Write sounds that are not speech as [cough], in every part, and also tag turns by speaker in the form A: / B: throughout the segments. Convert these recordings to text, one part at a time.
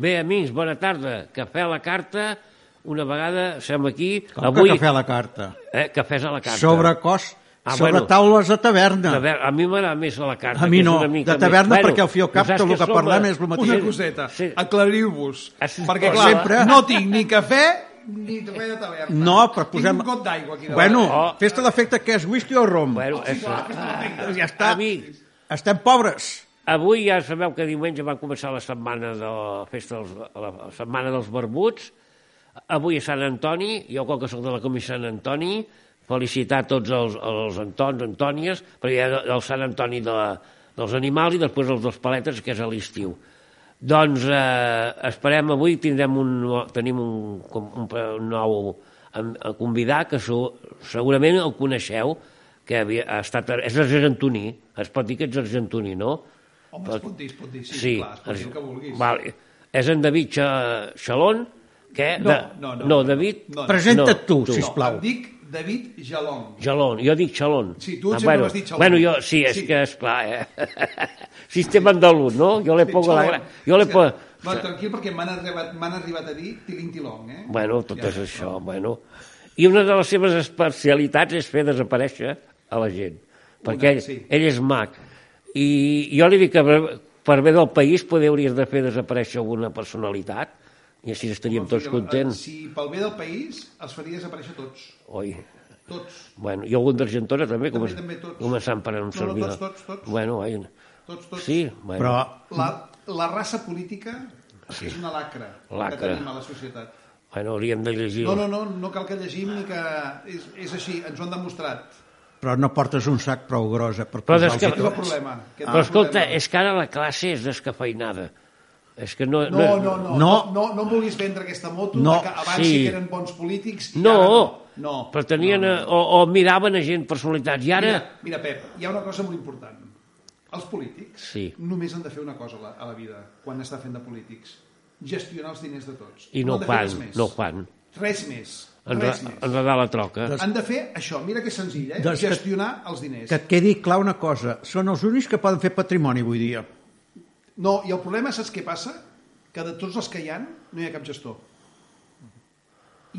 A: Bé, amics, bona tarda. Cafè a la carta, una vegada som aquí...
B: Com Avui... que cafè a la carta?
A: Eh, cafès a la carta.
B: Sobre cos,
A: Ah,
B: ah, sobre
A: bueno.
B: bueno. taules de taverna.
A: Taver... A mi m'agrada més a la carta.
B: A mi
A: que és
B: no,
A: una mica
B: de taverna,
A: més.
B: perquè al fi i al cap
A: saps
B: tot el que
A: som,
B: parlem
A: eh?
B: és el mateix.
C: Una
B: Sí,
C: coseta,
A: sí.
C: aclariu-vos,
A: Ah, sí,
C: perquè
A: com
C: clar,
B: sempre.
C: no tinc ni cafè ni res de taverna.
B: No, però posem...
C: Tinc un got d'aigua aquí davant.
B: Bueno,
A: Oh.
B: festa d'efecte que és whisky o rom.
A: Bueno, és...
B: ja està.
A: Amics,
B: Estem pobres.
A: Avui ja sabeu que diumenge va començar la setmana de la festa dels, la setmana dels barbuts. Avui és Sant Antoni, jo com que sóc de la Comissió Sant Antoni, felicitar tots els, els Antons, Antònies, perquè hi ha el Sant Antoni de la, dels animals i després els dels paletes, que és a l'estiu. Doncs eh, esperem avui, tindrem un, tenim un, com- un, un nou em- a convidat que so, segurament el coneixeu, que havia, ha estat, és argentoni, es pot dir que ets argentoni, no?
C: Home, es pot dir, es pot dir, sí, sí clar, es pot dir el que vulguis.
A: Val. És en David Xa- Xalón, que...
C: No,
A: de...
C: no, no,
A: no,
C: no,
A: David...
C: no, no.
B: Presenta't tu,
A: tu.
C: No,
B: sisplau.
C: em dic David Jalong.
A: Xalón, jo dic Xalón. Ah,
C: Sí, tu sempre
A: bueno,
C: m'has dit Xalón.
A: Bueno, jo, sí, és
C: Sí.
A: que, esclar, eh? [laughs] Sistema andalús, no? Jo l'he
C: Sí,
A: pogut...
C: Xalong.
A: La... Jo l'he
C: És que-
A: pogut...
C: Va, tranquil, perquè m'han arribat, m'han arribat a dir tilintilong, eh?
A: Bueno, tot
C: Ja,
A: és això, bueno. I una de les seves especialitats és fer desaparèixer a la gent, perquè ell,
C: sí.
A: ell és mag. I jo li dic que per, per bé del país poder hauries de fer desaparèixer alguna personalitat i així estaríem tots
C: Fill,
A: contents.
C: eh, Si pel bé del país els faria desaparèixer tots.
A: Oi?
C: Tots.
A: Bueno, i algun d'Argentona també,
C: També,
A: començ-
C: també, tots.
A: començant per un
C: no,
A: servidor.
C: tots, tots, tots.
A: Bueno, ai,
C: Tots, tots.
A: sí, bueno.
B: Però
C: La, la raça política sí. és una lacra,
A: Lacra.
C: que tenim a la societat.
A: bueno, hauríem de llegir.
C: No, no, no, no cal que llegim ni que... És, és així, ens ho han demostrat.
B: però no portes un sac prou gros eh, per
A: Però
B: posar
A: és que-
B: el
C: Aquest és el problema. Aquest
A: Però
C: és el
A: escolta,
C: problema.
A: és que ara la classe és descafeinada. És que no...
C: No, no, no, no,
B: No.
C: no, no em vulguis vendre aquesta moto
B: No.
C: de que abans
A: Sí.
C: sí. que eren bons polítics i
A: No,
C: ara no.
A: no,
C: no.
A: però tenien, no, no. O, o miraven a gent personalitats, i ara...
C: Mira, mira, Pep, hi ha una cosa molt important. Els polítics
A: Sí.
C: només han de fer una cosa a la, a la vida, quan està fent de polítics. Gestionar els diners de tots.
A: I no,
C: han
A: ho
C: de fer res
A: fan,
C: més.
A: no ho fan.
C: Res més.
A: Enre-
C: Res més.
A: Enredar la troca.
C: Han de fer això. Mira que senzill, eh?
B: Doncs que-
C: Gestionar els diners.
B: Que et quedi clar una cosa, són els únics que poden fer patrimoni avui dia.
C: No, i el problema, saps què passa? Que de tots els que hi han, no hi ha cap gestor.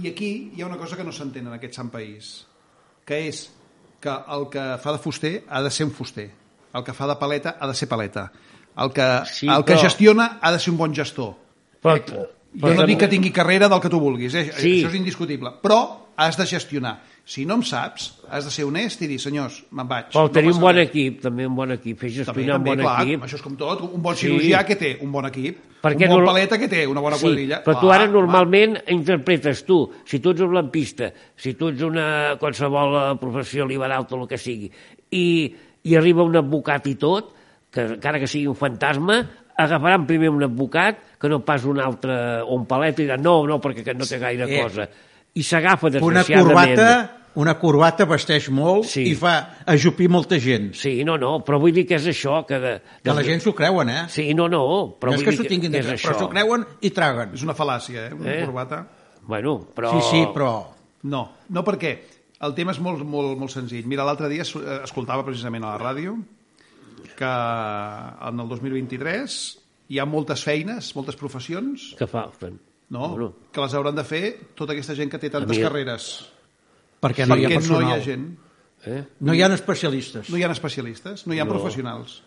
C: I aquí hi ha una cosa que no s'entén en aquest sant país, que és que el que fa de fuster ha de ser un fuster, el que fa de paleta ha de ser paleta, el que,
A: Sí,
C: sí, el que
A: però-
C: gestiona ha de ser un bon gestor.
A: Però,
C: Jo no dic que tingui carrera del que tu vulguis, eh?
A: Sí.
C: això és indiscutible, però has de gestionar. Si no em saps, has de ser honest i dir, senyors, me'n vaig.
A: Vol
C: no
A: tenir
C: passa
A: un bon
C: res."
A: equip, també un bon equip, fer
C: També,
A: gestionar un
C: també,
A: bon
C: clar,
A: equip.
C: això és com tot. Un bon
A: Sí.
C: cirurgià que té un bon equip,
A: Per què
C: un bon
A: no-
C: paleta que té una bona quadrilla.
A: però tu
C: Clar,
A: ara
C: clar.
A: normalment interpretes tu, si tu ets un lampista, si tu ets una qualsevol eh, professió liberal, tot el que sigui, i, i arriba un advocat i tot, que encara que sigui un fantasma, agafaran primer un advocat que no pas un altre, o un palet, i diran, no, no, perquè aquest no té gaire
B: Eh.
A: cosa. I s'agafa,
B: Una
A: desgraciadament.
B: corbata, una corbata vesteix molt
A: Sí.
B: i fa ajupir molta gent.
A: Sí, no, no, però vull dir que és això, que... De,
B: Que la gent s'ho creuen, eh?
A: Sí, no, no, però
B: no és
A: vull
B: que s'ho
A: dir
B: tinguin de
A: és
B: creure,
A: això.
B: però s'ho creuen i traguen.
C: És una fal·làcia, eh? Una
A: Eh?
C: eh? corbata.
A: Bueno, però...
B: Sí, sí, però...
C: No, no per què. El tema és molt, molt, molt senzill. Mira, l'altre dia es- eh, escoltava precisament a la ràdio que en el 2023 hi ha moltes feines, moltes professions,
A: Que falten.
C: no?
A: Bueno.
C: que les hauran de fer tota aquesta gent que té tantes
A: mi-
C: carreres.
B: Perquè no hi ha
C: perquè no
B: personal.
C: hi ha gent.
A: Eh?
B: No hi ha especialistes.
C: No hi ha especialistes, no hi ha no. professionals.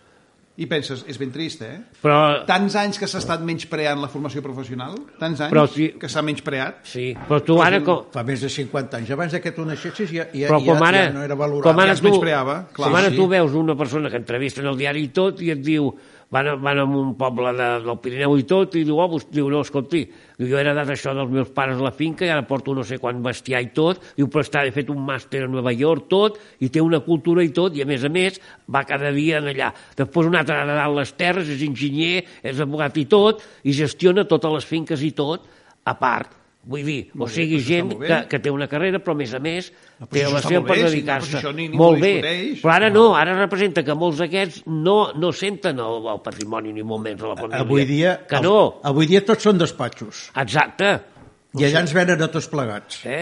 C: I penses, és ben trist, eh?
A: Però,
C: Tants anys que s'ha estat menyspreant la formació professional, tants anys
A: Però si-
C: que s'ha menyspreat.
A: sí, però tu ara... Com...
B: Fa més de 50 anys. Abans de que tu naixessis ja, ja,
A: Però com
B: ja,
A: ara,
B: ja no era valorada.
A: com ara,
C: ja es
A: tu,
C: menyspreava, clar.
A: com ara
B: Sí, sí.
A: tu veus una persona que entrevista en el diari i tot i et diu van, a, van a un poble de, del Pirineu i tot i diu, oh, vostè, diu no, escolti, diu, jo he heredat això dels meus pares a la finca i ara porto no sé quant bestiar i tot, diu, però està, he fet un màster a Nova York, tot, i té una cultura i tot, i a més a més va cada dia en allà. Després un altre ha heredat les terres, és enginyer, és advocat i tot, i gestiona totes les finques i tot, a part. Vull dir, o sigui,
C: doncs està
A: gent
C: molt bé.
A: que, que té una carrera, però a més a més
C: però
A: té
C: això
A: la
C: està
A: seva
C: molt
A: per
C: bé, si no,
A: dedicar-se.
C: però si això ni- ningú
A: molt
C: ho
A: bé,
C: discuteix.
A: però ara no, ara representa que molts d'aquests no, no senten el, el patrimoni ni molt menys a la família.
B: Avui dia,
A: Que no,
B: avui dia tots són despatxos.
A: exacte.
B: I allà ens venen a tots plegats.
A: Eh?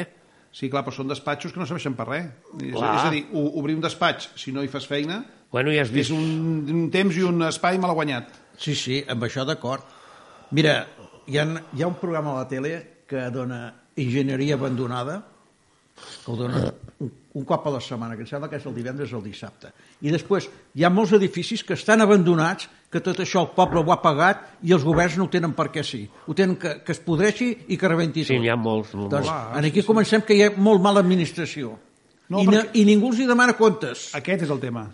C: Sí, clar, però són despatxos que no serveixen per res. És,
A: Clar.
C: és a dir, o- obrir un despatx, si no hi fas feina,
A: Bueno, ja has
C: és
A: vist...
C: un, un temps i un espai mal guanyat.
B: Sí, sí, amb això d'acord. Mira, hi ha, hi ha un programa a la tele que dona enginyeria abandonada, que el dona un, un cop a la setmana, que em sembla que és el divendres o el dissabte. I després hi ha molts edificis que estan abandonats, que tot això el poble ho ha pagat i els governs no ho tenen perquè sí. Ho tenen que, que es podreixi i que rebenti
A: Sí, n'hi ha molts. molts.
B: doncs, en aquí comencem que hi ha molt mala administració.
C: No,
B: No, I, perquè... I ningú els hi demana comptes.
C: Aquest és el tema.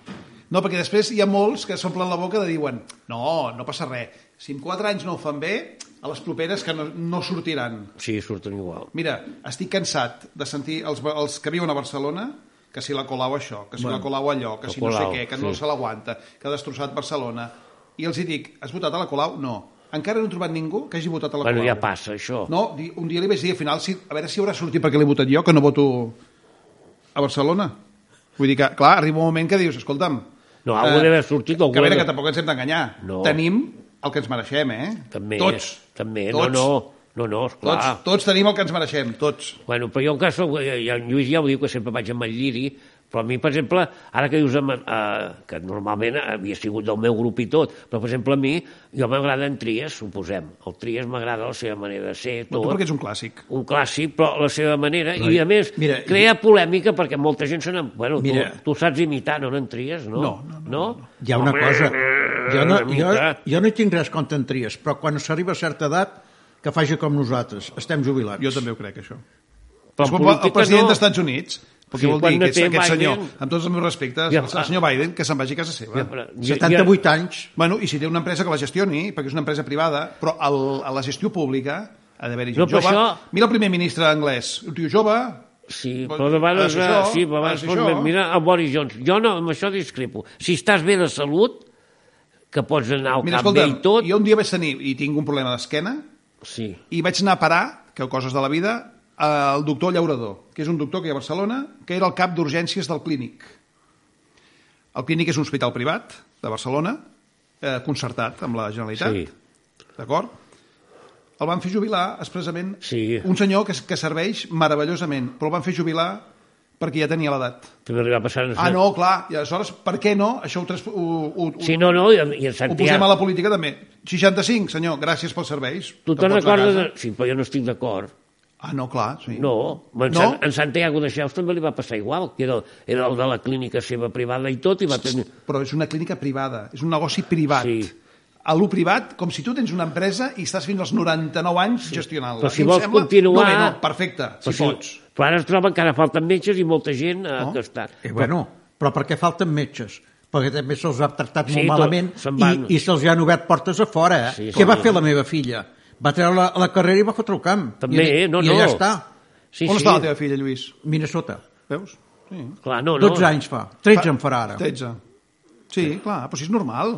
C: No, perquè després hi ha molts que s'omplen la boca de diuen no, no passa res, si en 4 anys no ho fan bé, a les properes que no, no sortiran.
A: Sí, surten igual.
C: Mira, estic cansat de sentir els, ba- els que viuen a Barcelona que si la Colau això, que si bueno, la Colau allò, que
A: la
C: si Colau, no
A: Colau,
C: sé què, que no
A: sí.
C: se l'aguanta, que ha destrossat Barcelona. I els hi dic, has votat a la Colau? No. Encara no he trobat ningú que hagi votat a la
A: Bueno,
C: Colau.
A: ja passa, això.
C: No, di- un dia li vaig dir, al final, si, a veure si haurà sortit perquè l'he votat jo, que no voto a Barcelona. Vull dir que, clar, arriba un moment que dius, escolta'm... eh,
A: No, algú deve haver sortit, algú
C: Que a veure,
A: deve-
C: que tampoc ens hem d'enganyar.
A: No.
C: Tenim el que ens mereixem, eh?
A: També,
C: tots.
A: També,
C: tots,
A: no, no. No, no, esclar.
C: Tots, tots tenim el que ens mereixem, tots.
A: Bueno, però jo en cas, soc- eh, ja- en Lluís ja ho diu, que sempre vaig amb el lliri, però a mi, per exemple, ara que dius, amb, eh, que normalment havia sigut del meu grup i tot, però, per exemple, a mi, jo m'agrada en Tries, suposem. El Tries m'agrada la seva manera de ser,
C: No,
A: tot.
C: tu perquè ets un clàssic.
A: un clàssic, però a la seva manera, i a més,
B: mira,
A: mira, crea polèmica perquè molta gent se n'en... Bueno,
B: Mira.
A: tu, tu saps imitar, no en tries, no?
C: No, no,
A: no.
B: Hi ha una
A: Home,
B: cosa, jo no, jo,
A: imitar.
B: jo no hi tinc res contra en Trias, però quan s'arriba a certa edat, que faci com nosaltres, estem jubilats.
C: Jo també ho crec, això.
A: Però en
C: és com el
A: política
C: president
A: no.
C: dels Estats Units, perquè
A: Sí,
C: vol dir
A: quan
C: que
A: té
C: aquest, aquest senyor,
A: Biden-
C: amb tots els meus respectes,
A: Ja,
C: el, el senyor Biden, que se'n vagi a casa seva.
A: Però jo-
B: 78 anys.
C: Bueno, i si té una empresa que la gestioni, perquè és una empresa privada, però el, a la gestió pública ha d'haver-hi gent
A: No, però
C: jove.
A: això-
C: Mira el primer ministre anglès, un tio jove...
A: Sí,
C: Vol-
A: però de vegades...
C: ha de ser això,
A: eh, sí, però
C: ha de
A: abans,
C: ser
A: doncs,
C: això.
A: mira, el Boris Johnson. Jo no, amb això discrepo. Si estàs bé de salut, que pots anar al
C: Mira,
A: cap bé i
C: escolta'm,
A: tot...
C: jo un dia vaig tenir, i tinc un problema d'esquena,
A: Sí.
C: i vaig anar a parar, que coses de la vida, al doctor Llaurador, que és un doctor que hi ha a Barcelona, que era el cap d'urgències del Clínic. El Clínic és un hospital privat de Barcelona, eh, concertat amb la Generalitat,
A: Sí.
C: d'acord? El van fer jubilar expressament
A: Sí.
C: un senyor que, que serveix meravellosament, però el van fer jubilar perquè ja tenia l'edat.
A: També li va passar...
C: Ah, no, clar, i aleshores, per què no? Això ho, trans- ho, ho,
A: Sí, no, no, i, i en
C: ho posem
A: Santiago...
C: a la política també. 65, senyor, gràcies pels serveis.
A: Tu te'n
C: Te'n pots anar a
A: recordes...
C: casa.
A: De... Sí, però jo no estic d'acord.
C: Ah, no, clar, sí.
A: No, en,
C: No?
A: no? en Santiago de Xels també li va passar igual, que era, era el de la clínica seva privada i tot, i va tenir...
C: Però és una clínica privada, és un negoci privat.
A: Sí.
C: A lo privat, com si tu tens una empresa i estàs fins als 99 anys gestionant-la.
A: Però si
C: I em
A: vols
C: sembla-
A: continuar-
C: No, bé, no, perfecte, si, si pots.
A: Però ara es troben que ara falten metges i molta gent eh,
C: No?
A: que està.
B: Eh, bueno, però perquè falten metges? Perquè també se'ls ha tractat
A: Sí,
B: molt
A: tot-
B: malament
A: se'n
B: i,
A: van.
B: i se'ls han obert portes a fora. Eh?
A: Sí,
B: Què
A: sí.
B: va fer la meva filla? Va treure la, la carrera i va fotre el camp.
A: També,
B: I,
A: eh? No,
B: I allà
A: no.
B: està,
A: Sí,
C: On
A: sí.
C: està la teva filla, Lluís?
B: Minnesota.
C: Veus? Sí.
A: Clar, no, no.
B: 12 anys fa, 13 en farà ara.
C: 13. Sí, clar, però si és normal.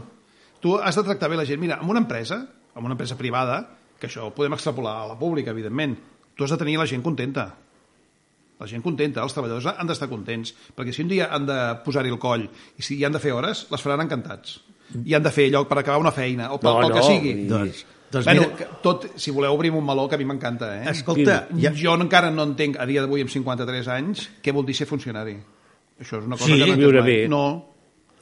C: Tu has de tractar bé la gent. Mira, amb una empresa, amb una empresa privada, que això ho podem extrapolar a la pública, evidentment, tu has de tenir la gent contenta. La gent contenta, els treballadors han d'estar contents, perquè si un dia han de posar-hi el coll i si hi han de fer hores, les faran encantats. I han de fer lloc per acabar una feina, o pel,
A: No,
C: pel
A: no,
C: que sigui.
A: vull dir-
B: Doncs, doncs
C: bueno,
B: mira,
C: que tot, si voleu, obrim un meló, que a mi m'encanta, eh?
B: escolta,
A: Quim.
B: ja,
C: Jo encara no entenc, a dia d'avui, amb 53 anys, què vol dir ser funcionari. Això és una cosa
B: Sí,
C: que no entenc
A: viure
C: mai.
A: bé.
C: No,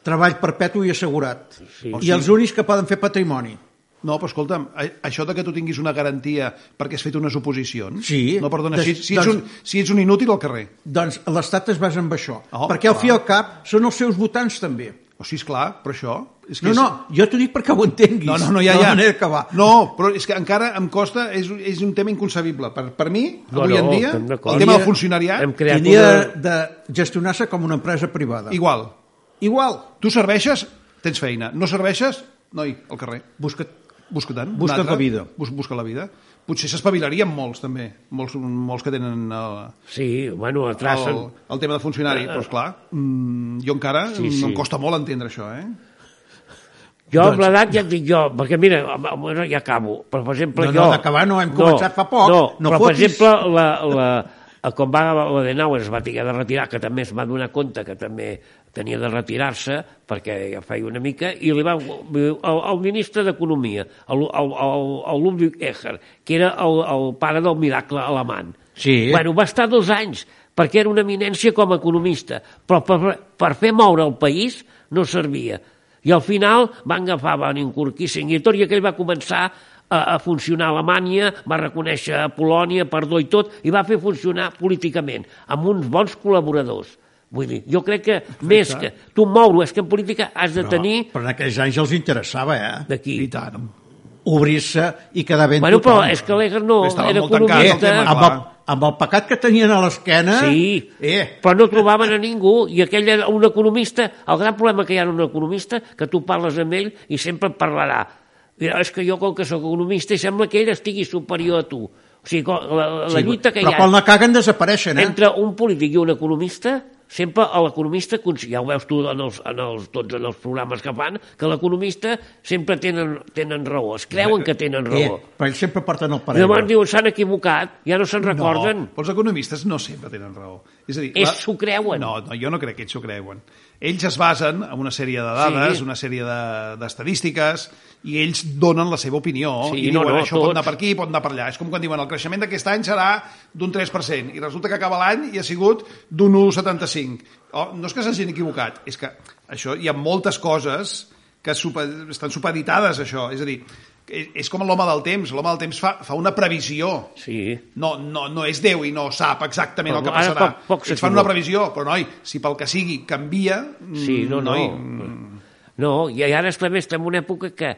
B: treball perpetu i assegurat.
A: Sí.
B: I els únics que poden fer patrimoni.
C: no, però escolta'm, a- això de que tu tinguis una garantia perquè has fet unes oposicions...
B: Sí.
C: No, perdona,
B: Des-
C: si, si, ets
B: doncs-
C: un, si ets un inútil al carrer.
B: Doncs l'estat es basa en això.
C: Oh,
B: perquè al
C: clar.
B: fi i al cap són els seus votants també.
C: O sigui, esclar, però això... És que
B: No,
C: és-
B: no, jo t'ho dic perquè ho entenguis.
C: No, no, no, ja,
B: de
C: ja.
B: manera que va.
C: No, però és que encara em costa, és, és un tema inconcebible. Per, per mi,
A: No,
C: avui
A: no,
C: en dia,
A: estem d'acord.
C: el tema
B: Hem-
C: del funcionariat,
A: Hem creat
B: Hauria
A: una...
B: de, de gestionar-se com una empresa privada.
C: igual.
B: Igual,
C: Tu serveixes, tens feina. No serveixes, noi, al carrer.
B: busca't.
C: Busca tant. un
B: Busca't
C: altre.
B: la vida.
C: Bus, busca la vida. Potser s'espavilarien molts, també. Molts, molts que tenen el,
A: Sí, bueno,
C: el,
A: atracen...
C: el tema de funcionari. Però, esclar, mm, jo encara sí,
A: sí.
C: em costa molt entendre això, eh?
A: Jo amb
B: Doncs-
A: l'edat ja et dic jo, perquè mira, home, bueno, ja acabo, però per exemple
B: No,
A: jo...
B: no, d'acabar no, hem començat fa poc,
A: No,
B: no
A: però
B: fotis.
A: per exemple, la, la, a quan va l'Adenauer es va haver de retirar, que també es va donar compte que també tenia de retirar-se, perquè ja feia una mica, i li va, el, el ministre d'Economia, el, el, el, el Ludwig Echer, que era el, el pare del miracle alemany.
B: Sí.
A: Bueno, va estar dos anys, perquè era una eminència com a economista, però per, per fer moure el país no servia. I al final van agafar Van Kissinger i tot, i aquell va començar a, a funcionar a Alemanya, va reconèixer a Polònia, perdó i tot, i va fer funcionar políticament, amb uns bons col·laboradors. Vull dir, jo crec que més que tu moure és que en política has de tenir
B: Però en aquells anys els interessava, eh?
A: d'aquí.
C: I tant.
B: Obrir-se i quedar ben
A: Bueno, però
B: tothom. Eh,
A: és que Leger no,
C: Estava
A: era
C: molt tancat el
A: economista...
C: tema,
B: amb, el, amb el pecat que tenien a l'esquena...
A: Sí,
B: Ah, Eh,
A: però no trobaven a ningú i aquell era un economista, el gran problema que hi ha en un economista, que tu parles amb ell i sempre et parlarà. Dirà, és que jo com que sóc economista i sembla que ell estigui superior a tu. O sigui, co- la, la
B: sí,
A: lluita que
B: però
A: hi ha
B: quan la caguen desapareixen, eh?
A: entre un polític i un economista, sempre l'economista, cons- ja ho veus tu en els, en els, tots en els programes que fan, que l'economista sempre tenen, tenen raó, es creuen que tenen
B: eh,
A: raó.
B: però ells sempre porten el
A: I
B: parell.
A: llavors diuen, s'han equivocat, ja no se'n recorden.
C: No, però els economistes no sempre tenen raó. És a dir,
A: Ells s'ho creuen.
C: No, no, jo no crec que ells s'ho creuen. Ells es basen en una sèrie de dades,
A: Sí.
C: sí. una sèrie de- d'estadístiques, de, i ells donen la seva opinió
A: Sí,
C: i
A: no,
C: diuen
A: no,
C: això pot anar
A: tots.
C: per aquí, pot anar per allà. És com quan diuen el creixement d'aquest any serà d'un 3%, i resulta que acaba l'any i ha sigut d'un 1,75. Oh, no és que s'hagin equivocat, és que això hi ha moltes coses que super, estan supeditades, a això. És a dir, és, és com l'home del temps. L'home del temps fa, fa una previsió.
A: Sí.
C: No, no, no és Déu i no sap exactament
A: Però
C: el que
A: ara
C: passarà.
A: poc- poc
C: Ells fan
A: s'equivoca.
C: una previsió, però noi, si pel que sigui canvia... mm,
A: Sí, no, no.
C: Noi,
A: No, i ara és que, a més, estem en una època que,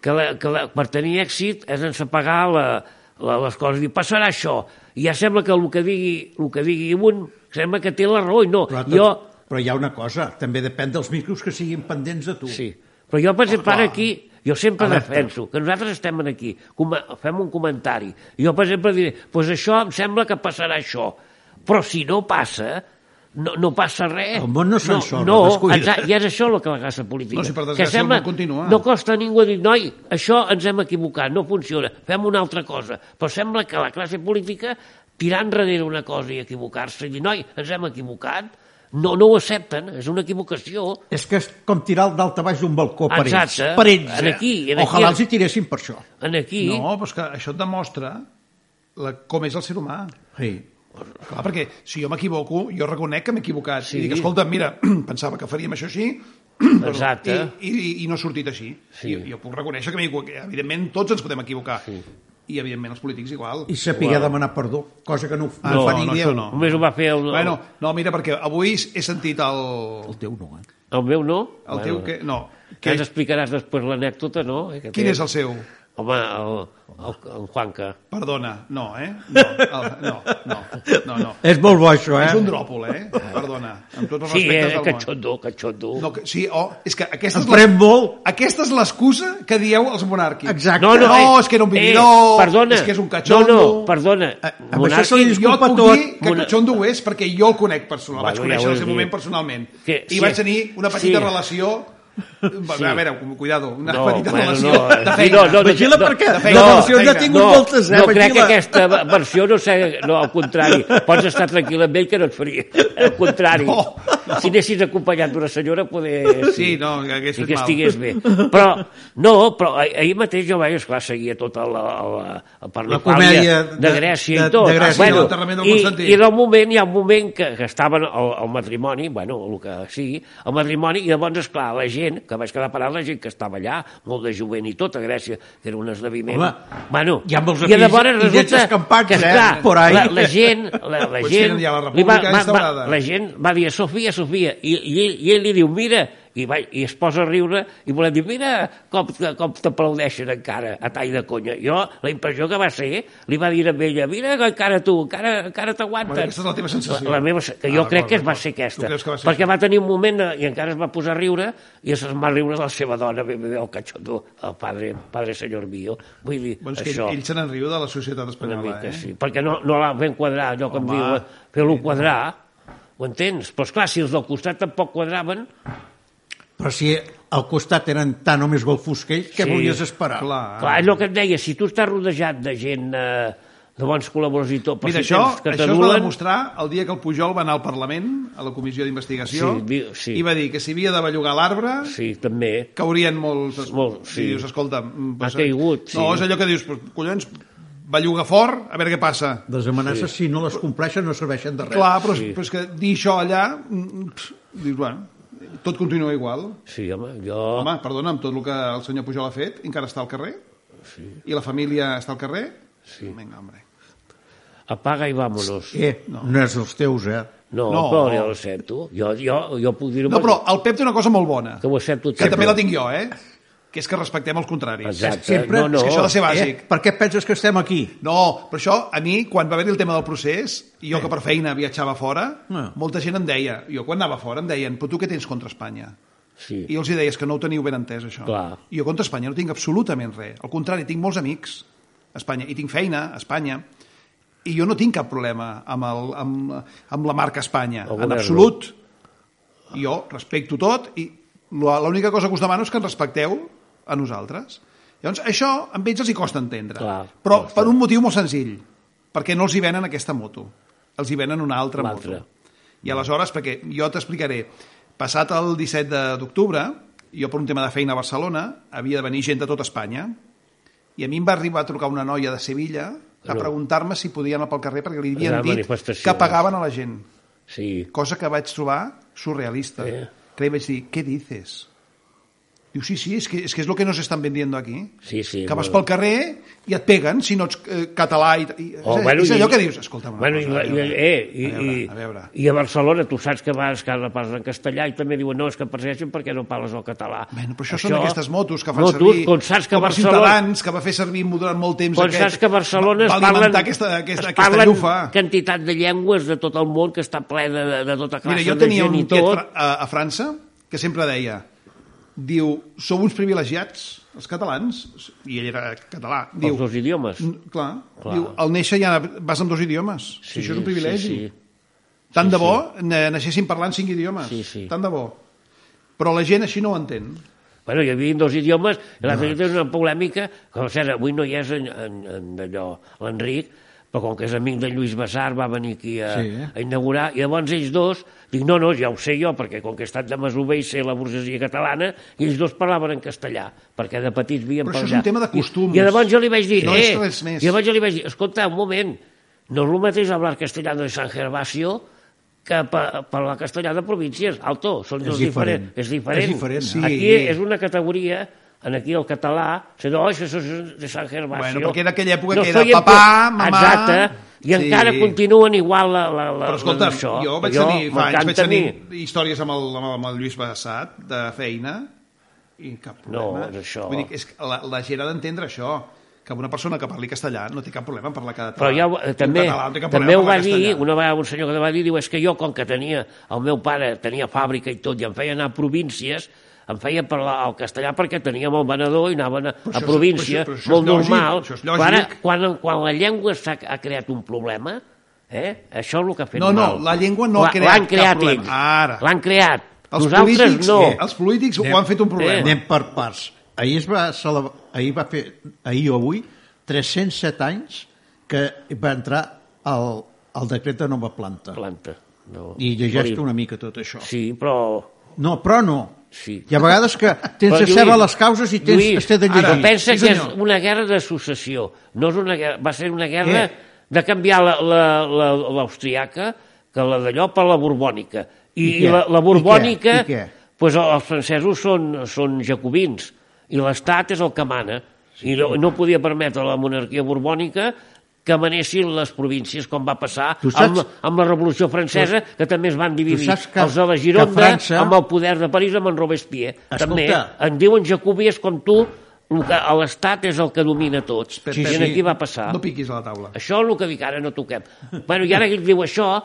A: que, la, que la, per tenir èxit és sense pagar la, la, les coses. Dir, passarà això. I ja sembla que el que digui, el que digui un sembla que té la raó i no.
B: Però, tot,
A: jo,
B: però hi ha una cosa, també depèn dels micros que siguin pendents de tu.
A: sí. Però jo, per exemple, ara
C: Clar.
A: aquí, jo sempre
B: Alerta.
A: defenso que nosaltres estem en aquí, com, fem un comentari. Jo, per exemple, diré, doncs pues això em sembla que passarà això. Però si no passa, no, no passa res.
B: El món no se'n sorra,
A: No,
B: descuida.
A: exacte, i és això el que la classe política.
C: No, si per desgràcia el món continua.
A: No costa a ningú dir, noi, això ens hem equivocat, no funciona, fem una altra cosa. Però sembla que la classe política tirar enrere una cosa i equivocar-se i dir, noi, ens hem equivocat, no, no ho accepten, és una equivocació.
B: És que és com tirar el d'alta baix d'un balcó per ells.
A: Exacte.
B: Per ells,
A: En
B: eh?
A: aquí, en
B: Ojalà
A: aquí.
B: els hi tiressin per això.
A: En aquí,
C: No, però és que això et demostra la, com és el ser humà.
B: Sí.
C: Clar, perquè si jo m'equivoco, jo reconec que m'he equivocat. Sí. I dic, escolta, mira, [clears throat] pensava que faríem això així, [clears throat] perdó,
A: Exacte.
C: I, i, i no ha sortit així.
A: Sí.
C: Jo, jo puc reconèixer que m'he equivocat. Evidentment, tots ens podem equivocar. Sí. I, evidentment, els polítics igual.
B: I saber demanar perdó, cosa que no, ho-
C: Ah,
B: no,
C: no,
B: fa ni
C: no,
B: Déu.
C: això no.
A: només ho va fer el,
C: Bueno, no, mira, perquè avui he sentit el...
B: El teu no, eh?
A: el meu, no?
C: El teu... Que, no,
A: Que
C: que,
A: ens explicaràs després l'anècdota, no? Eh, que
C: quin
A: té-
C: és el seu?
A: Home, el, el, el Juanca.
C: Perdona, no, eh? No, el, no, no, no, no.
B: És molt bo, això, eh?
C: És un dròpol, eh? Perdona, amb tots els
A: Sí,
C: respectes
A: eh,
C: del món.
A: catxondo, catxondo.
C: No, que, sí, oh, és que aquesta
B: Em
C: és,
B: pren
C: la,
B: molt.
C: aquesta és l'excusa que dieu els monàrquics.
B: Exacte.
A: No, no,
C: No,
A: eh,
C: és que era un
A: eh,
C: vividor,
A: perdona,
C: és que és un Eh, catxondo.
A: No, no, perdona.
B: A- amb
A: monarqui-
B: això se li
C: Jo et
B: Disculpa
C: puc
B: tot.
C: dir que
A: Mona-
C: Catxondo ho és perquè jo el conec personal, el vaig
A: Bueno, ja
C: conèixer
A: ho
C: en el
A: has
C: seu
A: dit.
C: moment personalment.
A: Que
C: I
A: sí.
C: vaig tenir una petita
A: Sí.
C: relació...
A: Sí.
C: A veure, cu- cuidado, una
A: No,
C: petita
A: bueno,
C: relació
A: no, eh,
C: de
A: sí, doncs.
C: feina.
A: no, no,
B: Vigila
A: no,
B: perquè
A: de
B: les
C: feina,
B: versions
C: feina.
B: ja ha tingut moltes, eh?
A: no crec que
B: Vigila.
A: aquesta ve- versió no sé, no, al contrari, pots estar tranquil amb ell que no et faria, al contrari.
C: No,
A: Si anessis acompanyat d'una senyora, poder...
C: Sí, no, que hagués
A: I
C: fet
A: que
C: mal.
A: estigués bé. Però, no, però ah- ahir mateix jo vaig, esclar, seguia tota la, la, la, per la,
B: La comèdia
A: de, de
B: de-
A: Grècia
B: de-
A: i tot.
B: de Grècia,
A: bueno,
C: l'enterrament del Constantí.
A: i, I del moment, hi ha un moment que, que estaven al, al matrimoni, bueno, el que sigui, al matrimoni, i llavors, esclar, la gent, que vaig quedar parada, la gent que estava allà, molt de jovent i tot, a Grècia, que era un esdeveniment.
B: Home,
A: bueno,
B: hi ha molts
A: i llavors
B: epis- i llets
A: resulta
B: escampats,
A: que,
B: eh,
A: esclar,
B: por ahí.
A: la, la gent, la, la
C: Pues
A: gent,
C: tenen ja la
A: li
C: república instaurada.
A: la gent va dir, Sofia, Sofia, i, i, ell- i ell li diu, mira, i, va, i es posa a riure i volem dir, mira com, te- com t'aplaudeixen encara, a tall de conya. Jo, la impressió que va ser, li va dir a ella, mira que encara tu, encara, encara t'aguantes.
C: Bueno, aquesta és la teva sensació.
A: La, la meva, se- que
C: Ah,
A: jo crec
C: d'acord,
A: que es va
C: d'acord.
A: ser aquesta.
C: Tu creus que va ser
A: perquè
C: això?
A: va tenir un moment eh, i encara es va posar a riure i se'n va riure de la seva dona, bé, bé, bé, el catxondo, el padre, padre senyor mio. Vull dir,
C: Bueno, és que
A: això...
C: ell, ell se n'enriu de la societat
A: Una
C: espanyola,
A: mica,
C: eh?
A: sí. Perquè no, no la vam quadrar, allò que em
C: Home.
A: diu, eh, fer-lo quadrar, ho entens? Però esclar, si els del costat tampoc quadraven,
B: Però si al costat eren tan o més golfos que ells, què
A: Sí.
B: volies esperar?
C: Clar.
A: clar, és el que et deia, si tu estàs rodejat de gent, eh, de bons col·laboradors i tot, però
C: Mira,
A: si
C: això,
A: tens que
C: això es va
A: t'anulen...
C: demostrar el dia que el Pujol va anar al Parlament, a la comissió d'investigació,
A: Sí, di- sí.
C: i va dir que si havia de bellugar l'arbre,
A: Sí, també.
C: caurien molts...
A: Molt, sí.
C: I dius, escolta... mm,
A: Ha caigut, sí.
C: No, és allò que dius, pues, collons, belluga fort, a veure què passa.
B: Les amenaces, si no les compleixen, no serveixen de res.
C: Clar, però,
A: sí.
C: sí. però és que dir això allà... mm, pff, Dius, bueno, tot continua igual.
A: Sí, home, jo...
C: Home, perdona, amb tot el que el senyor Pujol ha fet, encara està al carrer?
A: Sí.
C: I la família està al carrer?
A: Sí.
C: Vinga, hombre.
A: Apaga i vámonos.
B: Eh, no. no és dels teus, eh?
A: No,
C: No.
A: no, però jo ho sento. Jo, jo, jo puc dir-ho
C: No, però el Pep té una cosa molt bona,
A: que ho accepto
C: que també la tinc jo, eh? Que és que respectem els contraris.
A: Exacte.
B: Sempre-
A: no, no.
C: És que això ha de ser bàsic.
B: Eh? Per què penses que estem aquí?
C: No, però això, a mi, quan va haver-hi el tema del procés, i jo que per feina viatjava fora,
B: Ah.
C: molta gent em deia, jo quan anava fora em deien, però tu què tens contra Espanya?
A: Sí.
C: I jo els hi deia, "És que no ho teniu ben entès, això.
A: Clar.
C: I jo contra Espanya no tinc absolutament res. Al contrari, tinc molts amics a Espanya, i tinc feina a Espanya, i jo no tinc cap problema amb, el, amb, amb la marca Espanya,
A: El
C: en
A: govern.
C: absolut. Jo respecto tot i la- l'única cosa que us demano és que ens respecteu a nosaltres. Llavors, això a ells els hi costa entendre.
A: Clar,
C: però
A: costa.
C: per un motiu molt senzill, perquè no els hi venen aquesta moto, els hi venen una altra
A: Una
C: moto.
A: altra.
C: I aleshores, perquè jo t'explicaré, passat el 17 de- d'octubre, jo per un tema de feina a Barcelona, havia de venir gent de tota Espanya, i a mi em va arribar a trucar una noia de Sevilla a
A: No.
C: preguntar-me si podia anar pel carrer perquè li havien
A: Era
C: dit
A: manifestació,
C: que pagaven a la gent,
A: Sí.
C: cosa que vaig trobar surrealista.
A: Sí.
C: Que li vaig dir, què dices? Diu, sí, sí, és que és, que és lo que nos están vendiendo aquí.
A: Sí, sí,
C: que vas
A: bueno.
C: pel carrer i et peguen si no ets eh, català. I, i,
A: Oh,
C: és,
A: bueno,
C: és allò
A: i-
C: que dius, escolta'm una
A: bueno, cosa,
C: cosa, a
A: i,
C: veure,
A: eh, i,
C: a veure,
A: i,
C: a veure.
A: I a Barcelona tu saps que vas que parles en castellà i també diuen no, és que persegeixen perquè no parles el català.
C: Bueno, però això, això són aquestes motos que fan
A: motos,
C: servir...
A: Quan saps que
C: com a
A: Barcelona,
C: Ciutadans, que va fer servir durant molt temps
A: quan
C: aquest...
A: saps que Barcelona
C: va
A: es
C: alimentar
A: parlen,
C: aquesta, aquesta,
A: es
C: aquesta
A: parlen
C: llufa.
A: quantitat de llengües de tot el món que està ple de, de, de tota classe
C: Mira, jo
A: de
C: tenia
A: gent
C: un
A: i
C: tiet
A: tot.
C: fra- a, a França que sempre deia diu, sou uns privilegiats, els catalans, i ell era català, diu...
A: Els dos idiomes.
C: "N- Clar, clar,
A: Clar.
C: diu, al néixer ja vas amb dos idiomes. Sí, això és un privilegi.
A: Sí, sí.
C: Tant de bo na- naixessin parlant cinc idiomes.
A: Sí, sí.
C: Tant de bo. Però la gent així no ho entén.
A: Bueno, hi havia dos idiomes, i l'altre dia tenia una polèmica, com cert, avui no hi és en, en, en allò, l'Enric, però com que és amic de Lluís Bassar, va venir aquí a,
B: Sí.
A: sí. a inaugurar, i llavors ells dos, dic, no, no, ja ho sé jo, perquè com que he estat de Masover i sé la burgesia catalana, i ells dos parlaven en castellà, perquè de petits vien
C: Però
A: per
C: això és
A: allà.
C: un tema de
A: I-
C: costums.
A: I, llavors jo li vaig dir,
C: No és
A: eh,
C: res més.
A: i llavors jo li vaig dir, escolta, un moment, no és el mateix hablar castellano de San Gervasio que per, per la castellana de províncies, alto, són
B: És
A: dos
B: diferent.
A: diferents. És diferent.
B: És diferent,
C: eh?
B: sí.
A: Aquí és una categoria, en aquí el català, se diu, oh, això és de Sant Gervasio.
C: Bueno, perquè en aquella època que era
A: soy en
C: papà,
A: tu-
C: mamà.
A: Exacte, i
C: Sí.
A: encara continuen igual la, la, la,
C: Però escolta,
A: la d'això.
C: jo vaig tenir, fa anys vaig
A: m'encanta a mi.
C: tenir històries amb el, amb el, amb el Lluís Bassat de feina i cap problema.
A: No, és això.
C: Vull dir, que és que la, la gent ha d'entendre això, que una persona que parli castellà no té cap problema en parlar català.
A: Però ja, ho- eh,
C: Ah, Un
A: també,
C: català no té cap
A: també ho va
C: problema en parlar
A: dir,
C: castellà.
A: una vegada un senyor que va dir, diu, és que jo, com que tenia, el meu pare tenia fàbrica i tot, i em feia anar a províncies, em feia parlar al castellà perquè teníem el venedor i anaven a,
C: això
A: a
C: és-
A: província,
C: però això- però
A: molt
C: això és lògic,
A: normal.
C: això és
A: Però ara,
C: lògic.
A: quan, quan la llengua s'ha ha creat un problema, eh? això és el que ha fet
C: No, no,
A: mal.
C: la llengua no ha
A: La-
C: creat
A: l'han
C: cap
A: creat
C: problema.
A: ells.
C: Ara.
A: L'han creat.
C: Els
A: Nosaltres
C: polítics,
A: no.
C: eh, els polítics ho han fet un
A: Eh.
C: problema.
B: Anem per parts. Ahir, es va celebrar, ahir va fer, ahir o avui, 307 anys que va entrar el, el decret de nova planta.
A: Planta. No.
B: I llegeix una mica tot això.
A: Sí, però
B: No, però no.
A: Sí.
B: Hi ha vegades que tens de saber les causes i tens Lluís, de llegir.
A: Ara, pensa
B: Sí,
A: que és
B: senyor.
A: una guerra de successió. No és una guerra, va ser una guerra
B: Eh.
A: de canviar la- la- la- l'austriaca, que la d'allò per la borbònica. I,
B: I
A: I
B: què?
A: la, la
B: I
A: borbònica,
B: què? I què?
A: Pues el- els francesos són, són jacobins i l'Estat és el que mana. I no, no podia permetre a la monarquia borbònica que manessin les províncies, com va passar
B: Tu saps-
A: amb, amb la Revolució Francesa, que també es van dividir
B: saps que-
A: els de la
B: que
A: Gironda
B: França-
A: amb el poder de París amb en Robespierre.
B: Escolta.
A: També en diuen jacobies com tu, el que- a l'Estat és el que domina tots.
C: Pep,
A: I
C: Pep,
A: en aquí va passar.
C: No piquis a la taula.
A: Això és el que dic, ara no toquem. Bueno, i ara que ell diu això,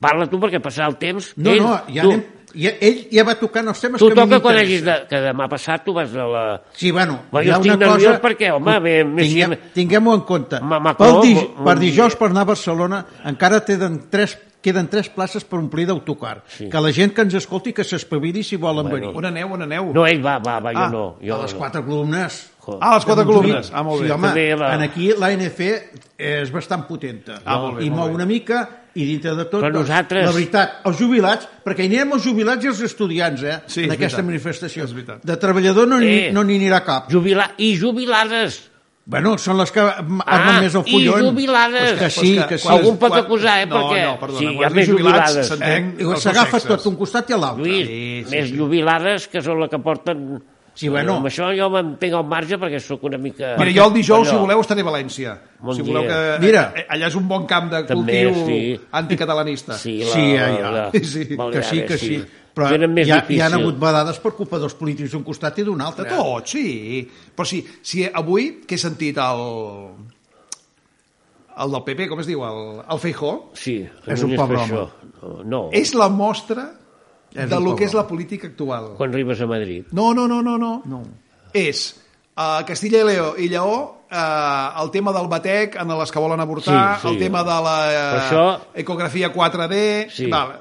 A: parla tu perquè passarà el temps.
B: No,
A: ell,
B: no, ja
A: tu,
B: anem, ja, ell ja va tocant els temes
A: tu
B: que a mi
A: toca quan hagis
B: m'interessen.
A: de... Que demà passat tu vas a la...
B: Sí, bueno,
A: Bé,
B: hi ha
A: jo estic
B: una
A: nerviós
B: cosa...
A: perquè, home, bé, més si-
B: Tinguem, tinguem-ho en compte.
A: Ma- Macron,
B: Pel di...
A: vol-
B: Per dijous, per anar a Barcelona, encara tenen tres, queden tres places per omplir d'autocar.
A: Sí.
B: Que la gent que ens escolti que s'espavili si volen
A: Bueno.
B: venir.
C: On aneu, on aneu?
A: No, ell va, va, va, jo
C: Ah,
A: no. Jo,
B: a les quatre columnes.
A: Jo.
C: Ah, les quatre
B: de Montjuïc.
C: columnes. Ah, molt bé.
B: Sí, home,
A: També la-
B: en aquí l'ANF és bastant potenta.
C: Ah, molt bé,
B: I
C: molt
B: mou
C: bé.
B: una mica, i dintre de tot, doncs,
A: Però nosaltres-
B: la veritat, els jubilats, perquè hi anirem els jubilats i els estudiants, eh,
C: Sí, és
B: d'aquesta
C: veritat.
B: manifestació.
C: És veritat.
B: De treballador no n'hi
A: Eh.
B: no n'hi anirà cap.
A: Jubilar, I jubilades.
B: Bueno, són les que armen
A: Ah,
B: més el
A: i
B: fullon.
A: jubilades.
B: Pues que sí,
C: Pues que
B: que sí.
C: quan-
A: Algun pot
C: quan-
A: acusar, eh,
C: No,
A: perquè-
C: no, perdona,
A: Sí,
C: quan
A: hi ha
C: es
A: més
C: diu jubilats,
A: jubilades.
C: s'entén
B: Eh,
C: els dos
B: S'agafa
C: sexes.
B: tot un costat i a l'altre.
A: Lluís,
C: Sí, sí,
A: més
C: sí.
A: jubilades que són la que porten
B: Sí, bueno,
A: Amb això jo m'entenc al marge perquè sóc una mica...
C: Mira, jo el dijous,
A: Allò.
C: si voleu, estaré a València.
A: Bon
C: si voleu
A: dia.
C: que...
B: Mira.
C: eh, Allà és un bon camp de
A: També,
C: cultiu
A: sí.
C: anticatalanista.
A: Sí, la,
B: Sí, ja, ja.
A: La,
C: Sí, que
B: que
A: Belgrade,
B: sí, que sí. Però
A: Tenen més
B: hi ha, hi
A: difícil.
B: han hagut vedades per culpa dels polítics d'un costat i d'un
C: De
B: altre. Oh,
C: tot, sí. Però sí, si avui, que he sentit el... El del PP, com es diu? El, el Feijó.
A: Sí,
B: És
A: amb
B: un pobre
A: expressió. No, no.
C: És la mostra
B: És
C: de
B: un
C: lo
B: pobre
C: que és la política actual.
A: quan arribes a Madrid.
C: No, no, no, no, no.
B: No.
C: És a Castilla i Leó i Lleó eh, el tema del batec en les que volen avortar,
A: Sí, sí.
C: el tema de la eh,
A: Per això-
C: ecografia 4D...
A: Sí.
C: Val.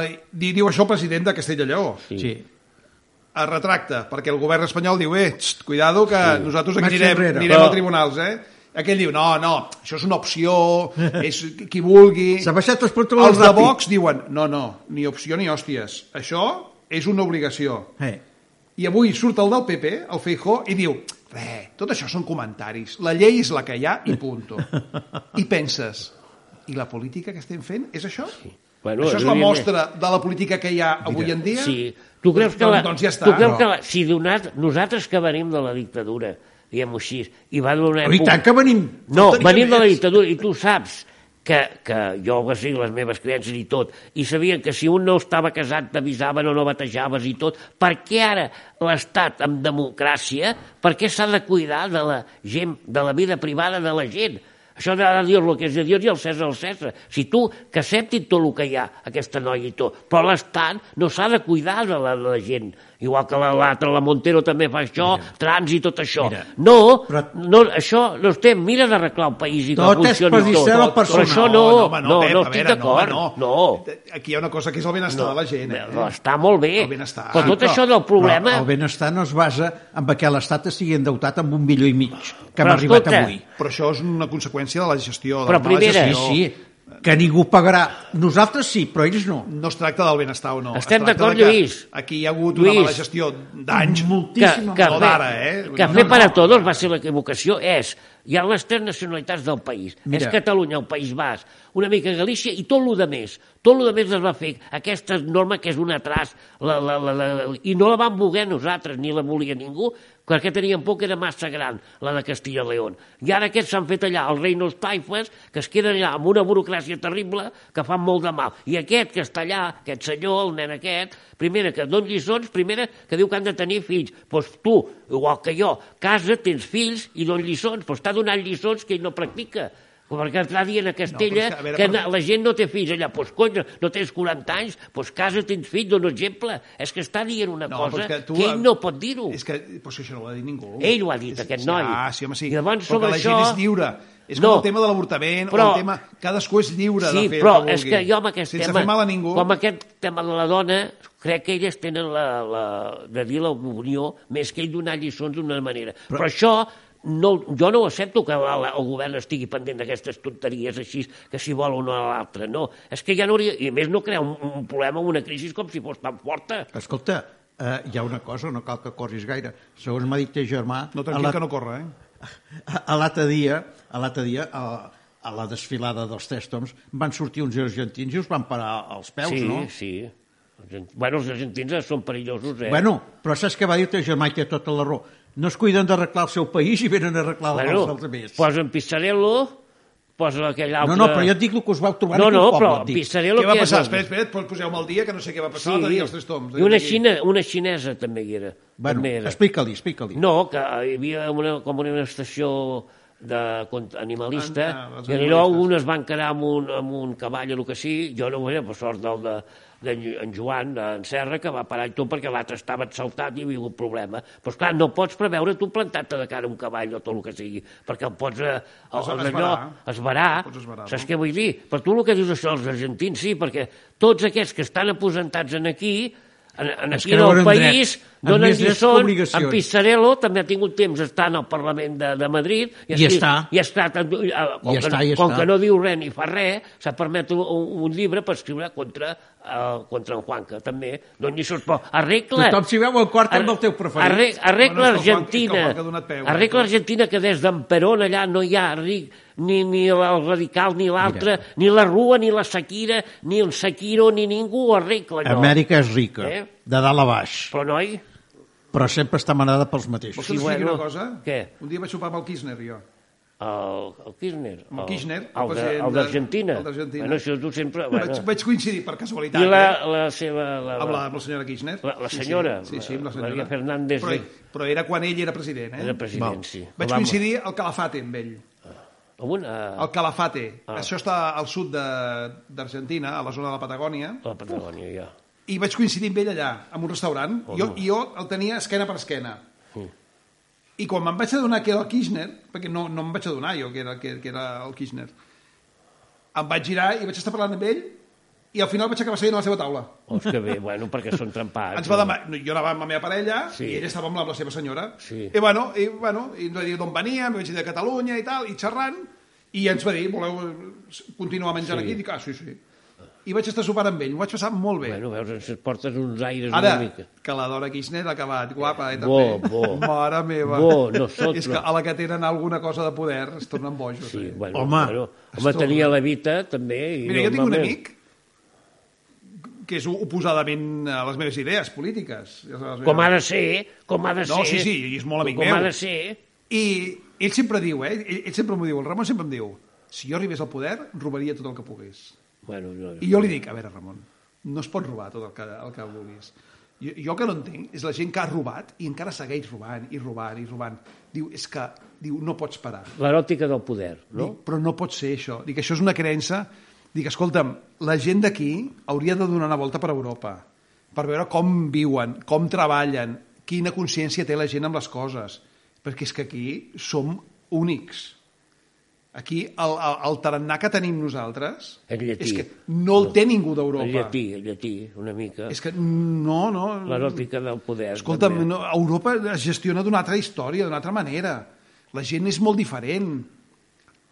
C: Eh, di- diu això el president de Castella i Lleó.
A: Sí.
B: Sí.
C: es retracta, perquè el govern espanyol diu, eh, txt, cuidado que sí. nosaltres aquí
B: Marxa
C: anirem,
B: enrere.
C: anirem
A: Però-
C: a tribunals, eh? Aquell diu, no, no, això és una opció,
B: [laughs]
C: és qui vulgui...
B: S'ha baixat els pantalones
C: Els de
B: ràpid.
C: Vox diuen, no, no, ni opció ni hòsties, això és una obligació.
B: Eh.
C: I avui surt el del PP, el Feijó, i diu, re, tot això són comentaris, la llei és la que hi ha i
A: [laughs]
C: punto. I penses, i la política que estem fent és això?
A: Bueno,
C: això és la
A: evidentment.
C: mostra de la política que hi ha avui en dia?
A: Sí. Tu creus que, la,
C: Doncs- doncs ja està,
A: tu creus
C: no.
A: que la, si donat, nosaltres que venim de la dictadura, diguem-ho així, i va donar...
B: I tant que venim.
A: No,
B: Faltaria
A: venim de la
B: més.
A: dictadura i tu saps que, que jo que sí, les meves criances i tot, i sabien que si un no estava casat t'avisaven o no batejaves i tot, per què ara l'Estat amb democràcia, per què s'ha de cuidar de la gent, de la vida privada de la gent? Això de dir lo que és de Dios i el César el César. Si tu, que acceptin tot el que hi ha, aquesta noia i tot, però l'Estat no s'ha de cuidar de la, de la gent. Igual que la- l'altre, la, Montero també fa això, trans i tot això.
B: Mira.
A: no,
B: Però-
A: no, això, no estem, mira d'arreglar el país i
B: Tot
A: que funcioni
B: és per
A: tot.
B: disseny la persona.
A: Però això no, no, no, no,
C: Pep,
A: no
C: a
A: estic
C: veure,
A: d'acord. No,
C: home,
A: no,
C: Aquí hi ha una cosa que és el benestar de la gent. Eh?
A: no, està molt bé.
C: El benestar.
A: Però tot
C: Però-
A: això del problema...
B: Però el benestar no es basa en que l'Estat estigui endeutat amb un milió i mig que hem
A: Però
B: arribat
A: escolta,
B: avui.
C: Però això és una conseqüència de la gestió.
A: Però
C: de la mala
A: primera-
B: Sí,
C: gestió.
B: sí, que ningú pagarà. Nosaltres sí, però ells no.
C: No es tracta del benestar o no.
A: Estem
C: Es tracta
A: d'acord,
C: de que
A: Lluís.
C: Aquí hi ha hagut
A: Lluís.
C: una mala gestió d'anys.
A: que,
B: Moltíssima
A: que,
C: no
A: fer,
C: d'ara, eh?
A: que
C: No,
A: fer
C: no.
A: per a tots va ser l'equivocació és, hi ha les tres nacionalitats del país
B: Mira.
A: és Catalunya, el País Basc una mica Galícia i tot el de més tot el de més es va fer aquesta norma que és un atras la, la, la, la, i no la van voler nosaltres ni la volia ningú perquè tenien por que era massa gran la de Castilla i León i ara aquests s'han fet allà els reinos taifes que es queden allà amb una burocràcia terrible que fan molt de mal i aquest que està allà, aquest senyor, el nen aquest primera que don lliçons, primera que diu que han de tenir fills. Doncs pues tu, igual que jo, casa, tens fills i don lliçons. Doncs pues t'ha donat lliçons que ell no practica. Com perquè està dient a Castella
C: No, però és que, a
A: no,
C: veure,
A: que,
C: però-
A: na- la gent no té fills allà. Doncs pues, cony, no tens 40 anys, doncs pues, casa, tens fills, dona exemple. És que està dient una
C: No, però
A: cosa
C: és que tu-
A: que ell no pot dir-ho.
C: És que, però si això no ho ha dit ningú.
A: Ell ho ha dit,
C: És-
A: aquest noi.
C: Ah, sí, home, sí.
A: I llavors,
C: però
A: sobre
C: que la
A: això-
C: gent és lliure. És
A: No.
C: com el tema de l'avortament,
A: Però-
C: o el tema... Cadascú és lliure
A: sí,
C: de fer el
A: però
C: que
A: és
C: vulgui.
A: que jo amb aquest
C: Sense
A: tema...
C: fer mal a ningú.
A: Com aquest tema de la dona, crec que elles tenen la, la, de dir l'opinió més que ell donar lliçons d'una manera. Però, però això no, jo no ho accepto que la, la, el govern estigui pendent d'aquestes tonteries així, que si vol una o l'altra, no. És que ja no hauria... I a més no crea un, un problema o una crisi com si fos tan forta.
B: Escolta, eh, hi ha una cosa, no cal que corris gaire. Segons m'ha dit teu germà...
C: No,
B: a
C: tranquil,
B: la-
C: que no corre, eh?
B: A a l'altre dia, a l'altre dia, a, a la desfilada dels tres toms, van sortir uns argentins i us van parar als peus,
A: sí,
B: no?
A: sí. Argent- Bueno, els argentins són perillosos, eh?
B: Bueno, però saps què va dir el teu germà i té tota la raó? No es cuiden d'arreglar el seu país i venen a arreglar bueno, els dels altres.
A: posen Pissarello, posen aquell altre...
B: No, no, però jo et dic el que us vau trobar
A: No,
B: en
A: no,
B: aquell poble.
A: però
B: et dic.
A: Pissarello...
C: Què va
A: que és
C: passar?
A: el-
C: Espera, espera, pues poseu-me el dia, que no sé què va passar, sí. els tres toms. eh?
A: I una, xina, una xinesa també hi era.
B: eh, Bueno,
A: també era.
B: explica-li, explica-li.
A: No, que hi havia una, com una estació de cont- animalista,
C: Ah, ah, els
A: i allò
C: animalistes.
A: un es van quedar amb un, amb un cavall o el que sí, jo no ho veia, per sort del de, de en Joan, d'en Serra, que va parar i tot perquè l'altre estava saltat i hi havia un problema. Però esclar, no pots preveure tu plantar-te de cara a un cavall o tot el que sigui, perquè el pots eh, el,
C: Es-
A: el,
C: esverar.
A: allò, esverar,
C: Pots esverar,
A: saps
C: no?
A: què vull dir? Per tu el que dius això els argentins, sí, perquè tots aquests que estan aposentats en aquí, en, en
B: Es
A: aquí en el
B: creuen en
A: país,
B: dret, amb
A: donen
B: més drets que
A: lliçons, en
B: obligacions.
A: Pissarello també ha tingut temps d'estar en el Parlament de, de Madrid
B: I
A: escrit-
B: està.
A: i ha estat, eh, com,
B: I
A: que,
B: està,
A: no-
B: i
A: com
B: està.
A: que no diu res ni fa res, s'ha permet un, un llibre per escriure contra, eh, contra en Juanca, també. Doncs lliçons, però arregla...
B: Tothom s'hi veu el quart amb el teu preferit.
A: Arre, arregla
C: Bueno, és que el Juan- és que el
A: Argentina.
C: Juanca ha donat
B: eh,
C: peu.
A: arregla Argentina que des d'en Perón allà no hi ha ric, ni, ni el radical ni l'altre, ni la Rua, ni la Shakira, ni el Shakiro, ni ningú ho arregla. No.
B: Amèrica és rica,
A: Eh?
B: de dalt a baix.
A: Però, noi,
B: però sempre està manada pels mateixos.
C: Vols que
A: Sí,
C: t'expliqui
A: bueno,
C: una cosa?
A: què?
C: Un dia vaig sopar amb el Kirchner, jo.
A: El, el Kirchner.
C: Amb el Kirchner, el
A: El, de-
C: president
A: el
C: de-
A: d'Argentina.
C: el d'Argentina.
A: Bueno, això tu sempre... Bueno.
C: Vaig, vaig coincidir per casualitat.
A: I la,
C: eh?
A: la seva... La,
C: Amb la, amb la senyora Kirchner.
A: La- la
C: Sí, sí.
A: senyora,
C: Sí, sí, amb la
A: la-
C: senyora.
A: María Fernández
C: Però,
A: de-
C: però era quan ell era president, eh?
A: Era president,
B: Val.
A: sí.
C: Vaig
A: Obama.
C: coincidir al Calafate amb ell.
A: Amb una...
C: El Calafate.
A: Ah.
C: Això està al sud de- d'Argentina, a la zona de la Patagònia.
A: A la Patagònia, ja.
C: i vaig coincidir amb ell allà, en un restaurant,
A: Oh,
C: jo,
A: no.
C: i jo el tenia esquena per esquena.
A: Sí.
C: I quan me'n vaig adonar que era el Kirchner, perquè no, no em vaig adonar jo que era, que, que era el Kirchner, em vaig girar i vaig estar parlant amb ell i al final vaig acabar seient a la seva taula.
A: Oh, és que bé, bueno, perquè són trempats.
C: Ens va demà- no, Jo anava amb la meva parella
A: Sí.
C: sí. i ella estava amb la, amb la seva senyora.
A: Sí.
C: I, bueno, i, bueno, i ens va dir d'on venia, em vaig dir de Catalunya i tal, i xerrant, i ens va dir, voleu continuar menjant
A: Sí.
C: sí. aquí? Dic, ah, sí, sí. I vaig estar sopant amb ell, m'ho vaig passar molt bé.
A: Bueno, veus, ens portes uns aires
C: Ara,
A: una mica.
C: que la Dora Kirchner ha acabat guapa, eh,
A: Bo,
C: també.
A: bo.
C: Mare meva.
A: Bo, nosotros.
C: És que a la que tenen alguna cosa de poder es tornen bojos.
A: Sí,
C: eh?
A: bueno,
B: Home,
A: bueno, home
C: estorba.
A: tenia la Vita, també. I
C: Mira, jo tinc un
A: normalment-
C: amic que és oposadament a les meves idees polítiques. Ja saps,
A: Com
C: jo-
A: ha de ser, com ha de ser.
C: No, sí, sí, i és molt amic
A: com
C: meu.
A: ha de ser.
C: I ell sempre diu, eh? Ell, ell sempre m'ho diu, el Ramon sempre em diu, si jo arribés al poder, robaria tot el que pogués.
A: Bueno, no,
C: I jo li dic, a veure, Ramon, no es pot robar tot el que, el que vulguis. Jo, jo el que no entenc és la gent que ha robat i encara segueix robant i robant i robant. Diu, és que diu, no pots parar.
A: L'eròtica del poder, no?
C: Dic, però no pot ser això. Dic, això és una creença... Dic, escolta'm, la gent d'aquí hauria de donar una volta per Europa per veure com viuen, com treballen, quina consciència té la gent amb les coses. Perquè és que aquí som únics. Aquí el, el, el tarannà que tenim nosaltres
A: És llatí.
C: és que no el té ningú d'Europa.
A: El llatí, el llatí, una mica.
C: És que no, no...
A: L'eròtica del poder.
C: Escolta'm,
A: també.
C: no, Europa es gestiona d'una altra història, d'una altra manera. La gent és molt diferent.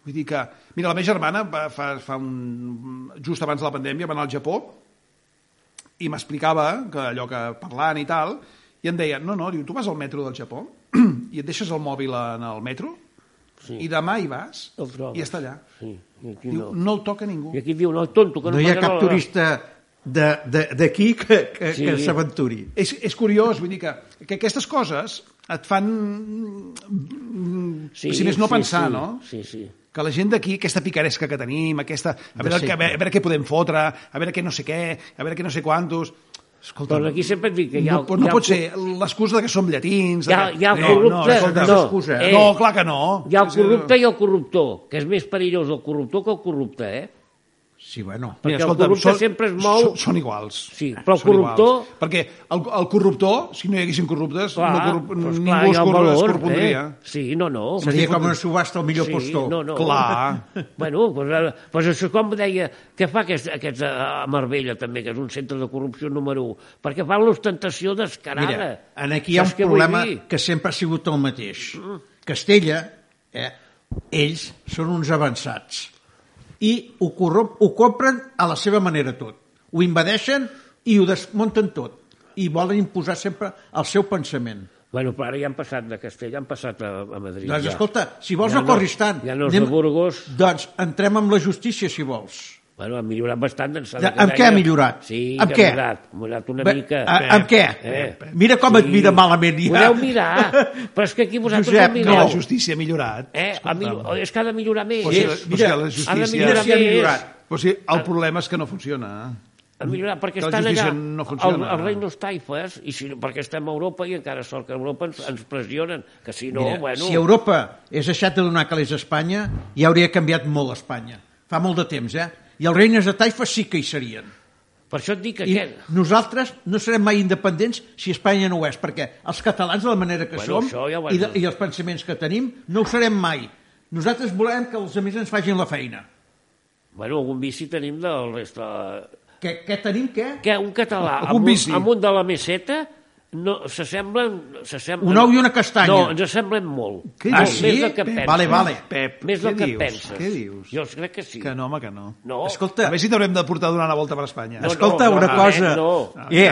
C: Vull dir que... Mira, la meva germana va, fa, fa un... just abans de la pandèmia va anar al Japó i m'explicava que allò que parlant i tal, i em deia, no, no, diu, tu vas al metro del Japó [clears throat] i et deixes el mòbil en el metro
A: Sí.
C: i demà hi vas
A: El trobes.
C: i està allà.
A: Sí, i aquí no.
C: Diu, no el toca ningú.
A: I aquí diu, no, el tonto, que no,
B: No hi ha
A: m'agrada
B: cap
A: la-
B: turista de- de- d'aquí que, que,
A: Sí.
B: que s'aventuri.
C: És, és curiós, vull dir que, que aquestes coses et fan,
A: Sí,
C: si més no,
A: sí,
C: pensar,
A: sí,
C: no?
A: Sí, sí.
C: que la gent d'aquí, aquesta picaresca que tenim, aquesta, a, veure el que, a,
B: sempre.
C: veure, a veure què podem fotre, a veure què no sé què, a veure què no sé quantos... Escolta,
A: Però aquí sempre et dic que hi ha...
C: no, però no
A: hi ha
C: pot ser l'excusa de que som llatins... de
A: Hi ha-
C: que-
A: hi ha
C: no, no,
A: corrupte,
C: escolta,
A: no.
C: excusa,
A: Eh.
C: no, clar que no.
A: Hi ha el
C: Sí, sí,
A: corrupte i el corruptor, que és més perillós el corruptor que el corrupte, eh?
B: Sí, bueno.
A: perquè el corrupte sempre es mou-
C: Són, són iguals.
A: Sí, però el
C: Són
A: corruptor-
C: Iguals. Perquè el, el corruptor, si no hi haguessin corruptes,
A: Clar,
C: no corrup,
A: però
C: ningú
A: esclar, hi
C: es,
A: ha un
C: cor, es
A: valor,
C: corrupondria.
A: eh? Sí, no, no.
B: Seria com una subhasta al millor
A: Sí,
B: postor.
A: no, no.
C: Clar.
A: [laughs] Bueno, doncs, ara- doncs això és com deia, que fa aquest, aquest eh, a Marbella també, que és un centre de corrupció número 1, perquè fan l'ostentació descarada.
B: Mira, en aquí hi ha
A: Saps
B: un
A: què vull
B: problema
A: dir? Mm.
B: que sempre ha sigut el mateix. Castella, eh, ells són uns avançats i ho, corromp, ho compren a la seva manera tot. Ho invadeixen i ho desmunten tot i volen imposar sempre el seu pensament.
A: Bueno, però ara ja han passat de Castell, han passat a, a Madrid.
B: Doncs
A: ja.
B: escolta, si vols
A: Ja
B: no
A: no-
B: corris tant.
A: ja no és de Burgos.
B: Doncs entrem amb la justícia, si vols.
A: Bueno, ha millorat bastant d'ençà
B: De-
A: que
B: amb què
A: deia.
B: ha millorat?
A: Sí,
B: Amb
A: que
B: què?
A: ha millorat, ha millorat una
B: Bé,
A: mica. eh,
B: a- amb què? Mira com et mira malament, ja.
A: Podeu mirar, però és que aquí vosaltres no
B: Josep, no.
C: No,
A: mireu.
C: la justícia ha millorat.
A: Eh, a mi, és que ha de millorar més.
C: Però si,
A: És-
C: però si la
A: ha de
C: justícia-
A: millorar
B: Si ha
A: més.
B: millorat.
C: Però si el problema és que no funciona.
A: Ha de millorar, perquè
C: Que la
A: estan
C: justícia
A: allà
C: no
A: el,
C: funciona.
A: el rei dels taifes, i si, perquè estem a Europa i encara sort que a Europa ens, ens pressionen, que si no,
B: Mira,
A: bueno...
B: Si Europa és deixat de donar calés a Espanya, ja hauria canviat molt Espanya. Fa molt de temps, eh? I els reines de Taifa sí que hi serien.
A: Per això et dic que
B: I
A: aquest...
B: nosaltres no serem mai independents si Espanya no ho és, perquè els catalans, de la manera que
A: Bueno, això
B: som
A: ja ho has
B: i, de,
A: dit.
B: i els pensaments que tenim, no ho serem mai. Nosaltres volem que els amics ens facin la feina.
A: Bueno, algun vici tenim del resta...
B: Què, què tenim, què?
A: Que un català
C: Algun
A: amb un,
C: vici.
A: amb un de la meseta no, s'assemblen... s'assemblen-
B: Un ou i una castanya.
A: No, ens assemblen molt.
C: Què
A: Molt,
B: dius?
A: Més
B: Ah,
A: del que
B: sí?
A: penses.
B: Vale, vale.
C: Pep,
A: Més del
C: què
A: que
C: dius?
A: penses.
C: Què dius?
A: Jo crec que sí.
C: Que no, home, que no.
A: No.
B: Escolta,
C: A veure si t'haurem de portar a donar la volta per Espanya.
A: No,
B: escolta
A: no,
B: una
A: no,
B: cosa.
A: no.
B: Eh,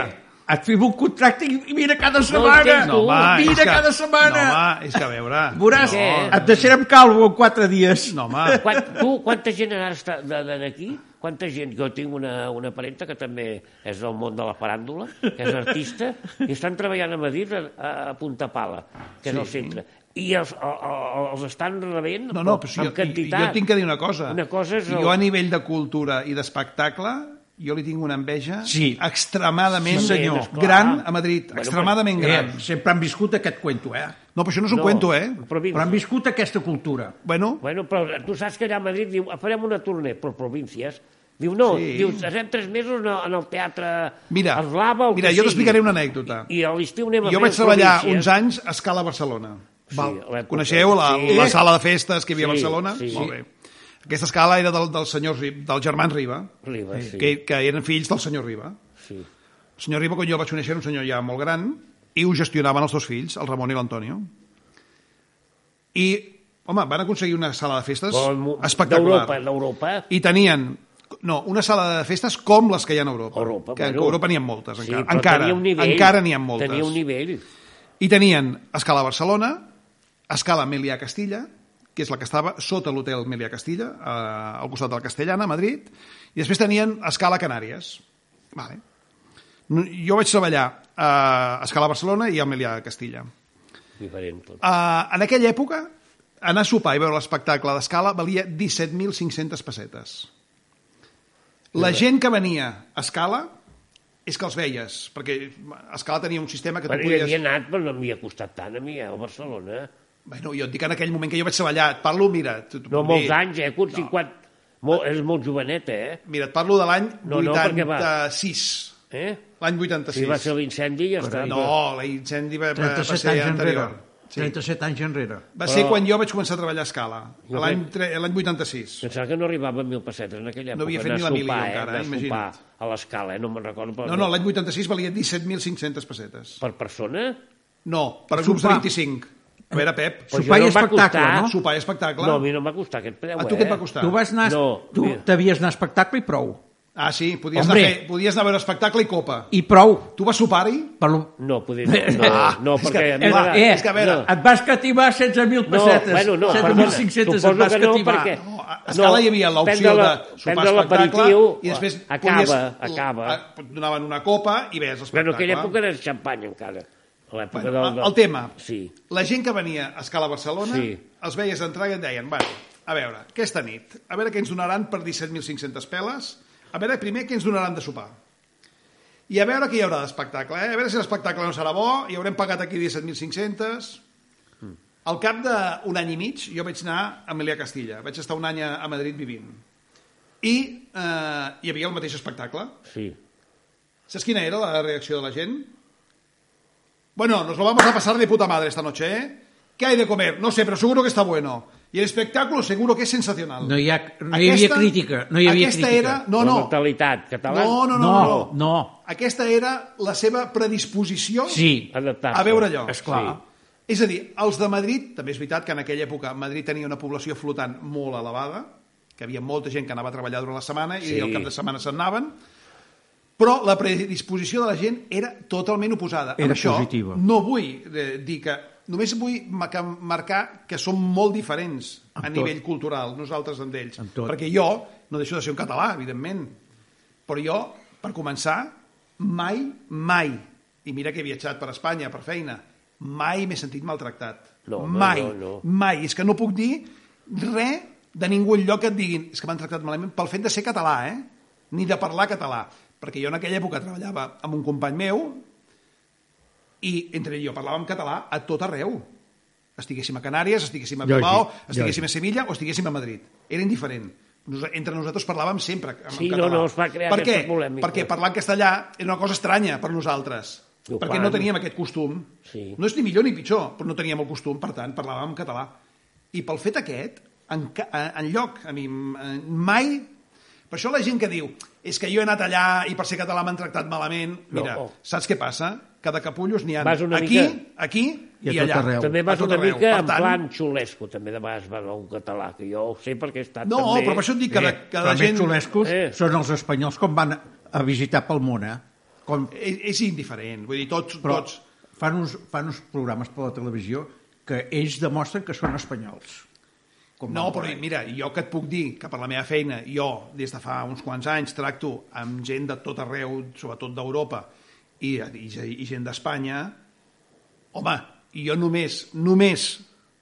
B: et firmo un contracte i, i mira cada
A: tens
B: setmana.
A: No, va,
B: mira
C: és que-
B: cada setmana.
C: No, home, és que a veure...
A: [laughs]
B: Veuràs,
A: No, no.
B: et deixarem calvo en quatre dies.
C: No, home,
A: Quan, tu, quanta gent ara està de- de- d'aquí? Quanta gent? Jo tinc una, una parenta que també és del món de la paràndula, que és artista, i estan treballant a Madrid a, a Punta Pala, que sí. és el centre. I els, el- el- els estan rebent
C: no, no, però si
A: amb
C: jo,
A: quantitat.
C: jo tinc que dir una cosa.
A: Una cosa és...
C: Jo a nivell de cultura i d'espectacle jo li tinc una enveja
B: Sí.
C: extremadament
A: Sí, senyor.
C: gran gran a Madrid,
A: Bueno,
C: extremadament
B: Eh,
C: gran.
B: sempre han viscut aquest cuento, eh?
C: No, però això no és un
A: No,
C: cuento, eh?
A: Però,
B: Però han viscut aquesta cultura.
C: Bueno,
A: Bueno, però tu saps que allà a Madrid diu, "Ah, farem una tournée per províncies. Diu, no,
C: Sí.
A: sí. diu, serem tres mesos en el- en el teatre
C: Mira,
A: Eslava, el
C: mira,
A: que
C: jo
A: sigui.
C: t'explicaré una anècdota.
A: I a l'estiu anem a
C: jo
A: fer
C: vaig treballar
A: províncies.
C: uns anys a Escala Barcelona.
A: Sí,
C: Val.
A: l'època.
C: Coneixeu la,
A: Sí.
C: la sala de festes que hi havia a
A: Sí,
C: Barcelona?
A: sí.
C: Molt bé. Aquesta escala era del, del senyor Riba, dels germans Riba, eh,
A: Riba, sí.
C: que, que eren fills del senyor Riba.
A: sí.
C: El senyor Riba, quan jo el vaig conèixer, era un senyor ja molt gran, i ho gestionaven els dos fills, el Ramon i l'Antonio. I, home, van aconseguir una sala de festes
A: Bon,
C: espectacular.
A: D'Europa, d'Europa.
C: I tenien no, una sala de festes com les que hi ha a Europa.
A: Europa,
C: que
A: bueno.
C: a Europa n'hi ha moltes,
A: Sí,
C: encara.
A: però
C: encara,
A: tenia un nivell,
C: encara n'hi ha moltes.
A: Tenia un nivell.
C: I tenien escala Barcelona, escala Melià Castilla, que és la que estava sota l'hotel Melià Castilla, a, al costat de la Castellana, a Madrid, i després tenien escala Canàries. Vale. No, Jo vaig treballar a escala Barcelona i a Melià Castilla.
A: Diferent tot.
C: Uh, en aquella època, anar a sopar i veure l'espectacle d'escala valia 17.500 pessetes. La gent que venia a escala és que els veies, perquè Escala tenia un sistema que tu
A: Bueno,
C: podies...
A: jo havia anat, però no m'hi ha costat tant a mi, eh, a Barcelona.
C: Bueno, jo et dic en aquell moment que jo vaig treballar, et parlo, mira... Tu, tu
A: No,
C: puc
A: molts
C: dir-
A: anys, eh? Curt, no. 50... Molt, és molt jovenet, eh?
C: Mira, et parlo de l'any
A: No, no, perquè va.
C: 86.
A: eh?
C: L'any
A: Si
C: 86.
A: va ser l'incendi i ja està.
C: No, l'incendi Eh, va, va, va
B: 37
C: ser
B: anys enrere.
C: anterior. Sí.
B: 37 anys enrere.
C: Va ser quan jo vaig començar a treballar a escala,
A: Jo
C: a l'any tre- l'any 86.
A: Pensava que no arribava a mil pessetes en aquella època.
C: No havia fet
A: anar a
C: ni la mili,
A: sopar,
C: encara,
A: anar a
C: eh,
A: sopar
C: imagina't.
A: A l'escala, eh? no me'n recordo. Però
C: No, no, l'any 86 valia 17.500 pessetes.
A: Per persona? doncs
C: No, per grups de
B: Sopar.
C: 25. A veure, Pep,
A: Però
B: Sopar
A: jo
B: i
A: em va
B: espectacle,
A: costar-
B: no?
C: sopar i espectacle.
A: No, a mi no em va costar aquest preu,
C: A
A: eh?
C: tu què et va costar?
B: Tu vas anar...
A: No,
B: tu
A: mira.
B: t'havies anar a espectacle i prou.
C: Ah, sí, podies, anar
B: Hombre.
C: a, fer, podies anar a veure espectacle i copa.
B: I prou.
C: Tu vas sopar-hi?
B: Per lo...
A: No,
C: [laughs]
A: poder no, no, no
C: Ah, és
A: perquè...
C: que-
A: a mi
B: Eh,
A: m'agrada-
B: eh,
C: és que a veure,
A: no.
B: Et vas cativar 16.000
A: No,
B: pessetes.
A: bueno, no, perdona,
B: 16.500 et
A: suposo
B: vas
A: que no,
B: cativar.
A: perquè-
C: No, a escala
A: No,
C: hi havia l'opció
A: prendre
C: de
A: la-
C: sopar
A: prendre
C: espectacle
A: l'aperitiu,
C: i després
A: acaba, acaba.
C: A, et donaven una copa i veies l'espectacle.
A: Bueno, en aquella època era xampany, encara. A l'època
C: eh? Bueno,
A: del, del...
C: el tema.
A: Sí.
C: La gent que venia a Escala Barcelona sí.
A: Sí.
C: els veies entrar i et deien, bueno, a veure, aquesta nit, a veure què ens donaran per 17.500 peles, a veure primer què ens donaran de sopar. I a veure què hi haurà d'espectacle, eh? a veure si l'espectacle no serà bo, i haurem pagat aquí 17.500... Al cap d'un any i mig jo vaig anar a Melià Castilla, vaig estar un any a a Madrid vivint. I eh, hi havia el mateix espectacle.
A: Sí.
C: ¿Sabes quién era la reacción de la gente? Bueno, nos lo vamos a pasar de puta madre esta noche, ¿eh? ¿Qué hay de comer? No sé, pero seguro que está bueno. Y el espectáculo seguro que es sensacional.
B: No hi, ha, no hi havia crítica. No hi havia
C: aquesta
B: crítica.
C: Era, no,
A: La
C: no,
A: mentalitat catalana.
C: no, no, no,
B: No,
C: no,
B: no.
C: Aquesta era la seva predisposició
B: Sí.
A: Adaptar-se.
C: a veure allò.
B: Esclar.
A: Sí.
C: És a dir, els de Madrid, també és veritat que en aquella època Madrid tenia una població flotant molt elevada, que havia molta gent que anava a treballar durant la setmana i
A: Sí.
C: al cap de setmana se'n anaven, però la predisposició de la gent era totalment oposada. Amb
B: Era
C: això,
B: positiva.
C: No vull eh, dir que... Només vull marcar, marcar que som molt diferents
B: Amb
C: a
B: tot.
C: nivell cultural, nosaltres amb ells.
B: Amb tot.
C: Perquè jo no deixo de ser un català, evidentment. Però jo, per començar, mai, mai, i mira que he viatjat per Espanya per feina, mai m'he sentit maltractat.
A: No, home,
C: mai,
A: no, no.
C: mai. És que no puc dir res de ningú lloc que et diguin és que m'han tractat malament pel fet de ser català, eh? Ni de parlar català. Perquè jo en aquella època treballava amb un company meu i entre ell i jo parlàvem català a tot arreu. Estiguéssim a Canàries, estiguéssim a
B: Jo
C: Bilbao,
B: sí, jo
C: estiguéssim a Sevilla o estiguéssim a Madrid. Era indiferent. Nos- Entre nosaltres parlàvem sempre en
A: Sí,
C: català.
A: no, no, es va crear
C: per què?
A: aquesta polèmica.
C: Perquè parlar en castellà era una cosa estranya per nosaltres.
A: I ho
C: perquè
A: fan.
C: no teníem aquest costum.
A: Sí.
C: No és ni millor ni pitjor, però no teníem el costum, per tant, parlàvem en català. I pel fet aquest, en, ca- eh, en lloc, a mi m- eh, mai... Per això la gent que diu és que jo he anat allà i per ser català m'han tractat malament...
A: No.
C: Mira, saps què passa? Que de capullos n'hi ha
A: Vas una
C: aquí,
A: mica-
C: aquí
B: I a
C: i,
B: tot
C: allà.
B: arreu.
A: També
C: A
A: vas
C: tot
A: una
C: arreu.
A: mica
C: Per
A: en
C: tant,
A: plan xulesco, també de vegades vas a un català, que jo ho sé perquè he estat
C: No,
A: també...
C: però per això et dic que,
B: Eh,
C: de, que
B: però
C: la
B: més
C: gent...
B: xulescos
A: Eh.
B: són els espanyols com van a visitar pel món, eh? com,
C: És, és indiferent, vull dir, tots,
B: però
C: tots...
B: fan uns, fan uns programes per la televisió que ells demostren que són espanyols. Com
C: No,
B: van
C: però
B: per ahí.
C: mira, jo que et puc dir que per la meva feina, jo, des de fa uns quants anys, tracto amb gent de tot arreu, sobretot d'Europa, i, i, i gent d'Espanya, home, i jo només, només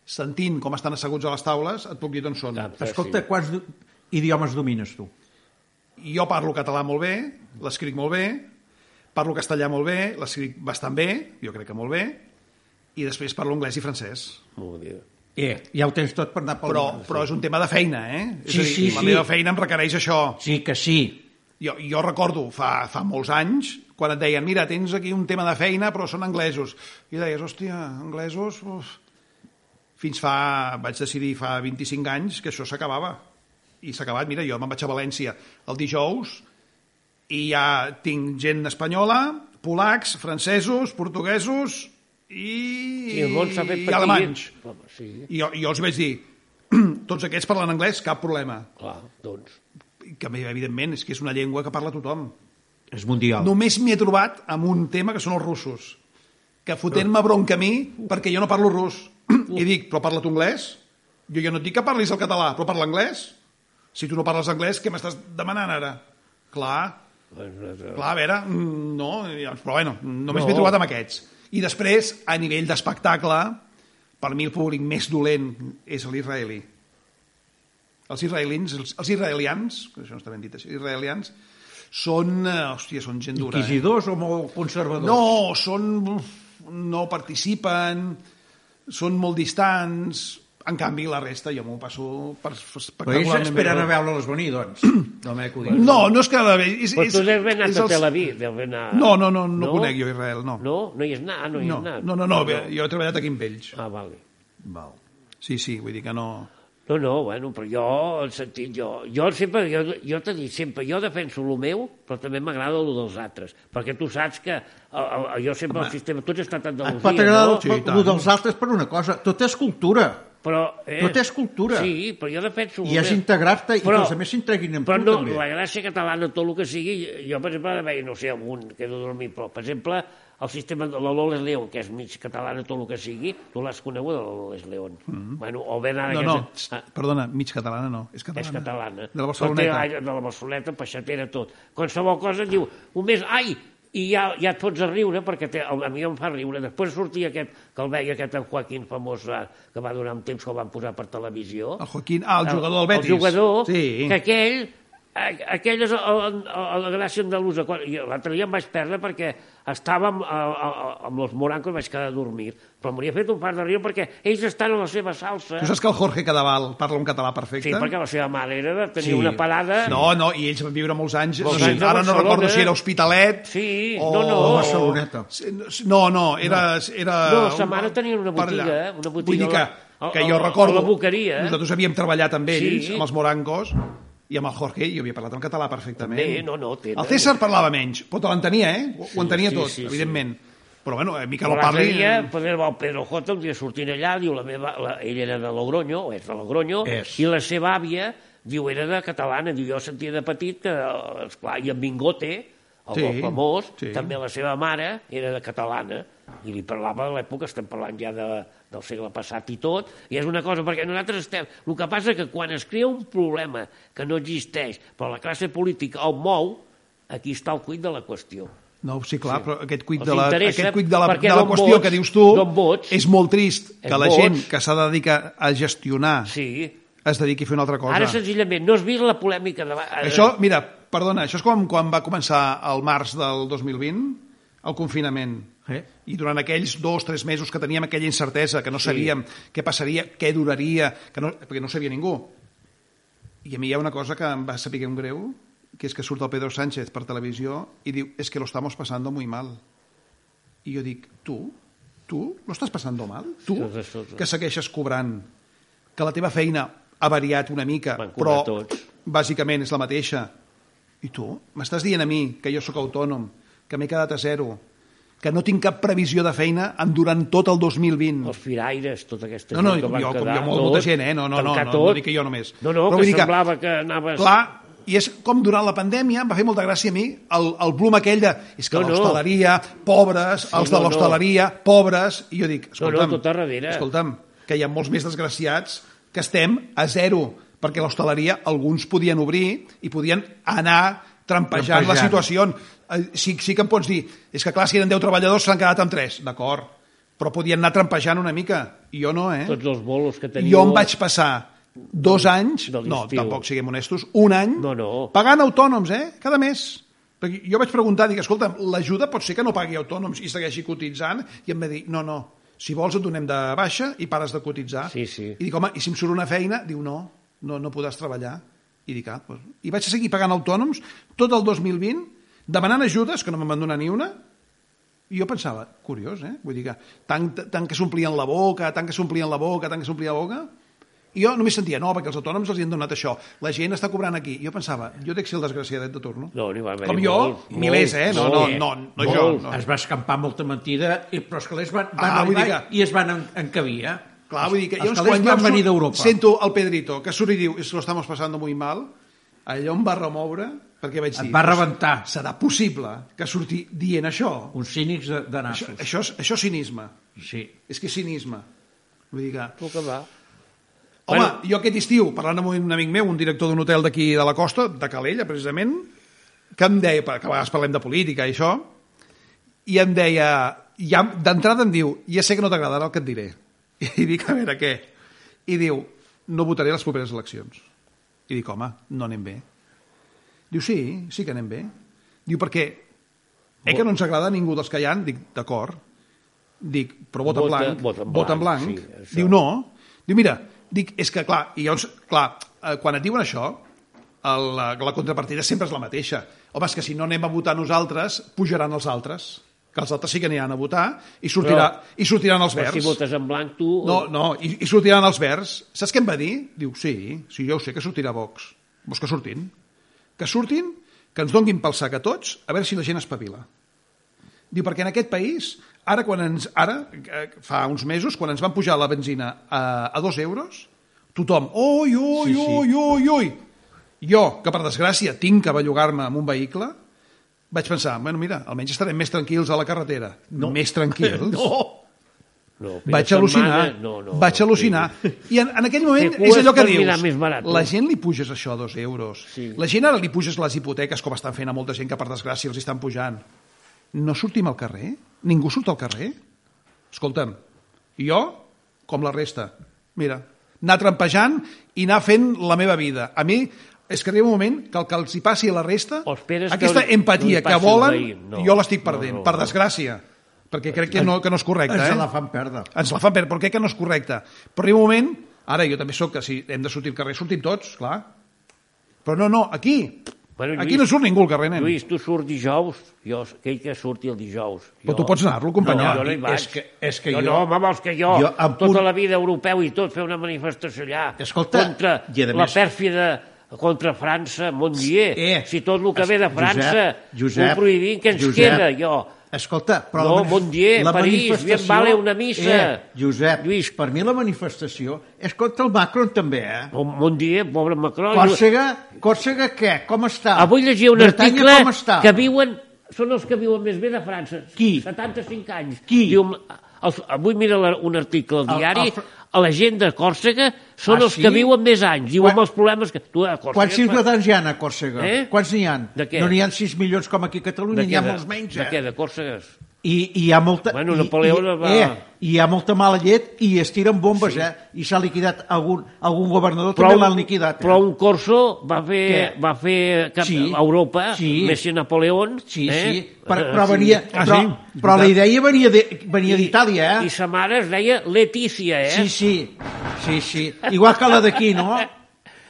C: sentint com estan asseguts a les taules, et puc dir d'on són.
A: Clar.
B: Escolta, quants do- idiomes domines tu?
C: Jo parlo català molt bé, l'escric molt bé, parlo castellà molt bé, l'escric bastant bé, jo crec que molt bé, i després parlo anglès i francès.
A: Molt bé.
B: Eh, ja ho tens tot per anar pel
C: Però,
B: món.
C: però és un tema de feina, eh?
B: Sí,
C: és a dir,
B: sí,
C: la
B: sí.
C: meva feina em requereix això.
B: Sí que sí.
C: Jo, jo recordo fa, fa molts anys quan et deien, mira, tens aquí un tema de feina però són anglesos. I deies, hòstia, anglesos... Uf. Fins fa, vaig decidir fa 25 anys que això s'acabava. I s'ha acabat, mira, jo me'n vaig a València el dijous i ja tinc gent espanyola, polacs, francesos, portuguesos i,
A: I el món s'ha fet
C: i
A: petit.
C: alemanys.
A: Home, Sí,
C: I jo, jo els vaig dir, [clears throat] tots aquests parlen anglès, cap problema.
A: clar, doncs.
C: Que, evidentment, és que és una llengua que parla tothom.
B: És mundial.
C: Només m'hi he trobat amb un tema que són els russos, que fotent-me bronca a mi perquè jo no parlo rus. [clears throat] I dic, però parla tu anglès? Jo ja no et dic que parlis el català, però parla anglès? Si tu no parles anglès, què m'estàs demanant ara? Clar, clar, a veure, mm, no, ja, però bueno, només
A: No.
C: m'he trobat amb aquests. I després, a nivell d'espectacle, per mi el públic més dolent és l'israelí. Els israelins, els, els israelians, que això no està ben dit, això, israelians, són, eh, hòstia, són gent dura. eh?
B: Inquisidors o molt conservadors?
C: No, són... no participen, són molt distants... En canvi, la resta jo m'ho passo per
B: Però ells
C: espectacularment
B: esperen
C: bé.
B: a veure'ls venir,
C: [clears throat]
B: doncs. no m'he acudit.
C: No, no és que... És,
A: Però tu deus haver anat
C: és
A: a tota
C: els-
A: Tel Aviv, deus haver anat...
C: No, no, no, no conec jo Israel, no.
A: No? No hi has anat? Ah, no hi
C: No,
A: has anat.
C: no, no, no, bé, jo he treballat aquí amb ells.
A: Ah, vale.
B: Val.
C: Sí, sí, vull dir que no...
A: No, no, bueno, però jo, el sentit, jo, jo sempre, jo, jo t'he dit sempre, jo defenso el meu, però també m'agrada el dels altres, perquè tu saps que el, el, jo sempre, el sistema, tu has estat a
B: Et
A: Andalusia,
B: pot agradar
A: no?
B: el,
C: Ah, Sí, i tant.
B: el dels altres per una cosa. Tot és cultura.
A: Però, eh,
B: Tot és cultura.
A: Sí, però jo defenso... el
B: I és
A: meu.
B: integrar-te i que
A: Però-
B: els altres s'integrin amb
A: Però
B: tu,
A: no,
B: també.
A: la gràcia catalana, tot el que sigui, jo, per exemple, ara veia, no sé, algun que no dormir, però, per exemple, el sistema de la Loles León, que és mig catalana, tot el que sigui, tu l'has coneguda, la Loles León. Mm -hmm. bueno, o ben ara...
C: Mm-hmm. No,
A: que
C: no,
A: és-
C: txt, perdona, mig catalana no, és catalana.
A: Ah. és catalana.
C: De la
A: Però té
C: Barceloneta.
A: l'aire De la Barceloneta, peixatera, tot. Qualsevol cosa et diu, un mes, ai, i ja, ja et fots a riure, perquè te, a mi em fa riure. Després sortia aquest, que el veia aquest en Joaquín famós, eh, que va donar un temps que el van posar per televisió.
C: El Joaquín, ah, el jugador del Betis.
A: El jugador,
C: Sí.
A: que aquell, a- aquell és el, el, el, la gràcia andalusa. Quan- jo L'altre dia em vaig perdre perquè estava amb, a, a, amb los morancos i vaig quedar a dormir. Però m'hauria fet un part de riure perquè ells estan a la seva salsa.
C: Tu saps que el Jorge Cadaval parla un català perfecte?
A: Sí, perquè la seva mare era de tenir
B: Sí.
A: sí. una parada...
C: No, no, i ells van viure molts anys.
A: Molts
C: no sé,
A: anys a
C: ara no
A: Barcelona.
C: recordo si era Hospitalet
A: Sí,
C: o...
A: no, no.
B: O Barceloneta.
C: No, no, era... era
A: No, sa
C: un-
A: mare tenia una
C: per allà.
A: botiga, eh, una botiga
C: Vull dir que,
A: a la-
C: que
A: a
C: jo
A: la-
C: recordo...
A: a la Boqueria. eh.
C: Nosaltres havíem treballat amb ells,
A: Sí.
C: amb els Morangos, i amb el Jorge, jo havia parlat en català perfectament.
A: Bé, no, no, tenen.
C: El César parlava menys, però te l'entenia, eh? Ho, ho entenia
A: sí,
C: tot,
A: sí, sí.
C: evidentment. Però, bueno, a mi que
A: Però
C: no
A: l'altre
C: parli...
A: dia, Pedro, el Pedro J, un dia sortint allà, diu la meva... La, ell era de Logroño, o és de Logroño,
B: És.
A: i la seva àvia, diu, era de catalana, diu, jo sentia de petit que, eh, esclar, i en Bingote, el
C: Sí,
A: sí, famós,
C: sí.
A: sí. també la seva mare era de catalana, i li parlava a l'època, estem parlant ja de, del segle passat i tot, i és una cosa, perquè nosaltres estem... El que passa que quan es crea un problema que no existeix, però la classe política el mou, aquí està el cuit de la qüestió.
C: No, sí, clar, sí. però aquest cuic
A: Els
C: de la,
A: interessa
C: aquest cuic de la,
A: perquè
C: de la
A: d'on
C: qüestió
A: vots,
C: que dius tu
A: d'on vots.
C: és molt trist que
A: És
C: la
A: vots.
C: gent que s'ha de dedicar a gestionar
A: Sí,
C: es dediqui a fer una altra cosa.
A: Ara, senzillament, no has vist la polèmica de... eh, la-
C: Això, mira, perdona, això és com quan va començar el març del 2020, el confinament.
B: Eh?
C: I durant aquells dos, tres mesos que teníem aquella incertesa, que no sabíem què passaria, què duraria, que no, perquè no ho sabia ningú. I a mi hi ha una cosa que em va saber un greu, que és que surt el Pedro Sánchez per televisió i diu, es que lo estamos pasando muy mal. I jo dic, tu? Tu? Lo estàs passant mal? Tu?
A: Sí, és això, és això.
C: Que segueixes cobrant, que la teva feina ha variat una mica,
A: Van
C: però
A: cobrar tots.
C: bàsicament és la mateixa. I tu? M'estàs dient a mi que jo sóc autònom, que m'he quedat a zero, que no tinc cap previsió de feina en durant tot el 2020.
A: Els firaires, tota aquesta
C: No, no,
A: gent que van
C: jo, com
A: quedar,
C: jo, molta gent, eh? No, no, no,
A: tancar
C: no, no
A: tot.
C: dic que jo només.
A: No, no,
C: Però
A: Però
C: vull
A: que
C: dir que-
A: semblava que, anaves...
C: Clar, I és com durant la pandèmia em va fer molta gràcia a mi el, el blum aquell de és que
A: No,
C: no,
A: no.
C: l'hostaleria, pobres, els de
A: no, no.
C: l'hostaleria, pobres... I jo dic,
A: No, no,
C: escolta'm,
A: tot a darrere.
C: escolta'm, que hi ha molts més desgraciats que estem a zero, perquè l'hostaleria alguns podien obrir i podien anar trampejant,
B: Trampejant.
C: la situació. Eh, Sí, sí que em pots dir, és que clar, si eren 10 treballadors s'han quedat amb 3, d'acord, però podien anar trampejant una mica. I Jo no, eh?
A: Tots els bolos que teniu...
C: Jo em vaig passar dos anys,
A: de
C: no,
A: l'estiu.
C: tampoc siguem honestos, un any,
A: No, no.
C: pagant autònoms, eh? Cada mes. Perquè jo vaig preguntar, dic, escolta, l'ajuda pot ser que no pagui autònoms i segueixi cotitzant? I em va dir, no, no, si vols et donem de baixa i pares de cotitzar.
A: Sí, sí.
C: I dic, home, i si em surt una feina? Diu, no, no, no podràs treballar. I dic, ah, doncs. I vaig seguir pagant autònoms tot el 2020, demanant ajudes, que no me'n van donar ni una, i jo pensava, curiós, eh? Vull dir que tant, tant que s'omplien la boca, tant que s'omplien la boca, tant que s'omplien la boca... I jo només sentia, no, perquè els autònoms els hi han donat això. La gent està cobrant aquí. Jo pensava, jo dec ser el desgraciadet de torno.
A: No, n'hi va haver
C: Com jo,
A: molts,
C: milers, eh? No, no,
A: molts,
C: no, no,
A: molts.
C: jo. No.
B: Es va escampar molta mentida, i, però els calés van, van
C: Ah, vull
B: arribar
C: dir que-
B: i es van en- encabir, eh?
C: Clar, vull dir que hi ha
B: Els
C: uns
B: calés
C: quants
B: van
C: llocs
B: venir
C: on
B: d'Europa.
C: Sento el Pedrito, que surt i diu, es lo estamos pasando muy mal, allò em va remoure, perquè vaig dir...
B: Et va rebentar
C: Serà possible que surti dient això?
B: uns cínics de, de
C: Això,
B: nassos.
C: això, és, això és cinisme.
B: Sí.
C: És que és cinisme. Vull dir que...
A: Tu que va.
C: Home,
A: Bueno.
C: jo aquest estiu, parlant amb un amic meu, un director d'un hotel d'aquí de la costa, de Calella, precisament, que em deia, que a vegades parlem de política i això, i em deia, ja, d'entrada em diu, ja sé que no t'agradarà el que et diré. [laughs] I dic, a veure, què? I diu, no votaré les properes eleccions. I dic, home, no anem bé. Diu, sí, sí que anem bé. Diu, perquè eh que no ens agrada ningú dels que hi ha? Dic, d'acord. Dic, però vota,
A: Vota-
C: blanc.
A: vota en
C: Vota en
A: blanc,
C: blanc.
A: sí, això.
C: Diu, no. Diu, mira, dic, és que clar, i llavors, clar, eh, quan et diuen això, el, la, la contrapartida sempre és la mateixa. Home, és que si no anem a votar nosaltres, pujaran els altres. Que els altres sí que aniran a votar i, sortirà, i sortiran els
A: Però
C: verds.
A: si votes en blanc, tu...
C: No, no, i, i sortiran els verds. Saps què em va dir? Diu, sí, sí, jo ho sé que sortirà Vox. Vols que surtin? Que surtin, que ens donguin pel sac a tots, a veure si la gent espavila. Diu, perquè en aquest país, ara, quan ens, ara eh, fa uns mesos, quan ens van pujar la benzina a, a dos euros, tothom, oi,
B: Sí,
C: oi,
B: sí.
C: oi, oi, oi. Jo, que per desgràcia tinc que bellugar-me amb un vehicle, vaig pensar, bueno, mira, almenys estarem més tranquils a la carretera. No. Més tranquils?
B: [laughs] No!
A: no
C: vaig
A: fins a
C: al·lucinar,
A: setmana, no, no,
C: vaig
A: no,
C: al·lucinar. I en, en aquell moment
A: Fer cues
C: és allò que
A: per
C: dius,
A: mirar més barat, no?
C: la gent li puges això a dos euros,
A: Sí.
C: la gent ara li puges les hipoteques com estan fent a molta gent que per desgràcia els estan pujant. No sortim al carrer? Ningú surt al carrer? Escolta'm, jo, com la resta, mira, anar trampejant i anar fent la meva vida. A mi, és que arriba un moment que el que els hi passi a la resta,
A: O esperes que
C: aquesta
A: no li- no
C: empatia
A: li
C: que
A: passi al
C: volen,
A: veí, no.
C: jo l'estic
A: No,
C: perdent,
A: no,
C: per
A: no.
C: desgràcia, perquè crec que no, que no és correcte.
B: Ens
C: eh?
B: la fan perdre.
C: ens la fan perdre, però crec que no és correcte. Però arriba un moment, ara jo també sóc que si hem de sortir al carrer, sortim tots, clar. Però no, no, aquí,
A: Bueno, Lluís-
C: aquí no surt ningú al carrer, nen.
A: Lluís, tu surts dijous, jo, aquell que surti el dijous. Jo,
C: Però tu pots anar-lo, company.
A: No,
B: No,
A: jo no hi vaig.
B: és que- és que
A: no,
B: jo-
A: No, home, vols que jo,
B: Jo,
A: jo
B: en
A: tota
B: punt-
A: la vida europeu i tot, fer una manifestació allà
B: Escolta,
A: contra
B: i a
A: la
B: més-
A: pèrfida contra França, mon dier.
B: Eh,
A: si tot el que ve de
B: es-
A: França ho prohibim, què ens
B: Josep,
A: queda, jo?
B: Escolta, però...
A: No,
B: la manif-
A: bon dia,
B: la
A: París, bien
B: manifestació-
A: vale una missa.
B: Eh, Josep,
A: Lluís.
B: Lluís. per mi la manifestació és contra el Macron també, eh?
A: Mon, mon dier, pobre Macron.
B: Còrsega, Còrsega què? Com està?
A: Avui llegia un
B: Bretanya, com
A: article
B: està?
A: que viuen... Són els que viuen més bé de França.
B: Qui?
A: 75 anys.
B: Qui?
A: Diu, els, avui mira la, un article al
B: El-
A: diari,
B: el Fr-
A: a la gent de Còrsega són
B: Ah,
A: els que
B: sí?
A: viuen més anys. Diu amb
B: Quan-
A: els problemes que... Tu, a Còrsega,
B: Quants ciutadans hi ha a Còrsega?
A: Eh?
B: Quants n'hi ha?
A: De què?
B: No n'hi ha 6 milions com aquí a Catalunya, n'hi ha
A: de-
B: molts menys,
A: De què,
B: eh?
A: de Còrsega?
B: I, I hi ha molta...
A: Bueno,
B: i-
A: Napoleó
B: i,
A: no va-
B: Eh, I hi ha molta mala llet i es tiren bombes, eh? I s'ha liquidat algun, algun governador, també l'han liquidat. Eh?
A: però un corso va fer,
B: Què?
A: va fer cap
B: Sí.
A: a Europa,
B: Sí.
A: Messi Napoleón.
B: Sí,
A: eh?
B: sí, però, però, venia,
C: Ah,
B: però,
C: sí?
B: però la idea venia de- venia
A: I-
B: d'Itàlia,
A: I
B: eh?
A: sa mare es deia Letícia, eh?
B: Sí, sí, sí, sí. Igual que la d'aquí, no?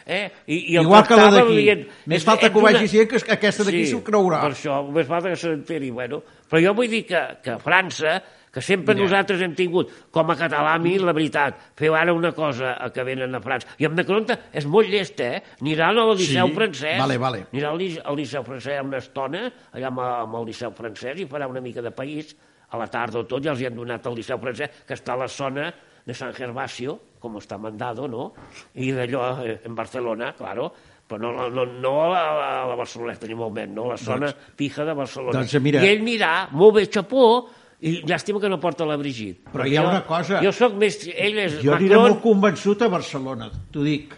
A: Eh? [laughs] I, i el
B: Igual que la
A: tractaven
B: d'aquí.
A: dient,
B: Més
A: "És-
B: falta
A: ets
B: que ho
A: una-
B: vagi dient que aquesta d'aquí s'ho creurà.
A: Per això, més falta que s'enteri. Bueno, però jo vull dir que, que França, que sempre
B: Ja.
A: nosaltres hem tingut, com a català, a mi, la veritat, feu ara una cosa eh, que venen a França. I em de compte, és molt llest, eh? Aniran al Liceu
B: Sí,
A: francès.
B: vale, vale.
A: Anirà al, Lice- al Liceu francès una estona, allà amb, amb el Liceu francès, i farà una mica de país. A la tarda o tot ja els hi han donat al Liceu francès, que està a la zona de San Gervasio, com està mandado, no? I d'allò eh, en Barcelona, claro. però no, no, no a la, a la Barceloneta ni molt menys, no a la zona doncs, pija de Barcelona.
B: doncs mira-
A: I ell anirà, molt bé, xapó, i llàstima que no porta la Brigitte.
B: Però
A: Perquè
B: hi ha
A: jo-
B: una cosa.
A: Jo sóc més... Ell és
B: Jo aniré
A: Macron,
B: molt convençut a Barcelona, t'ho dic.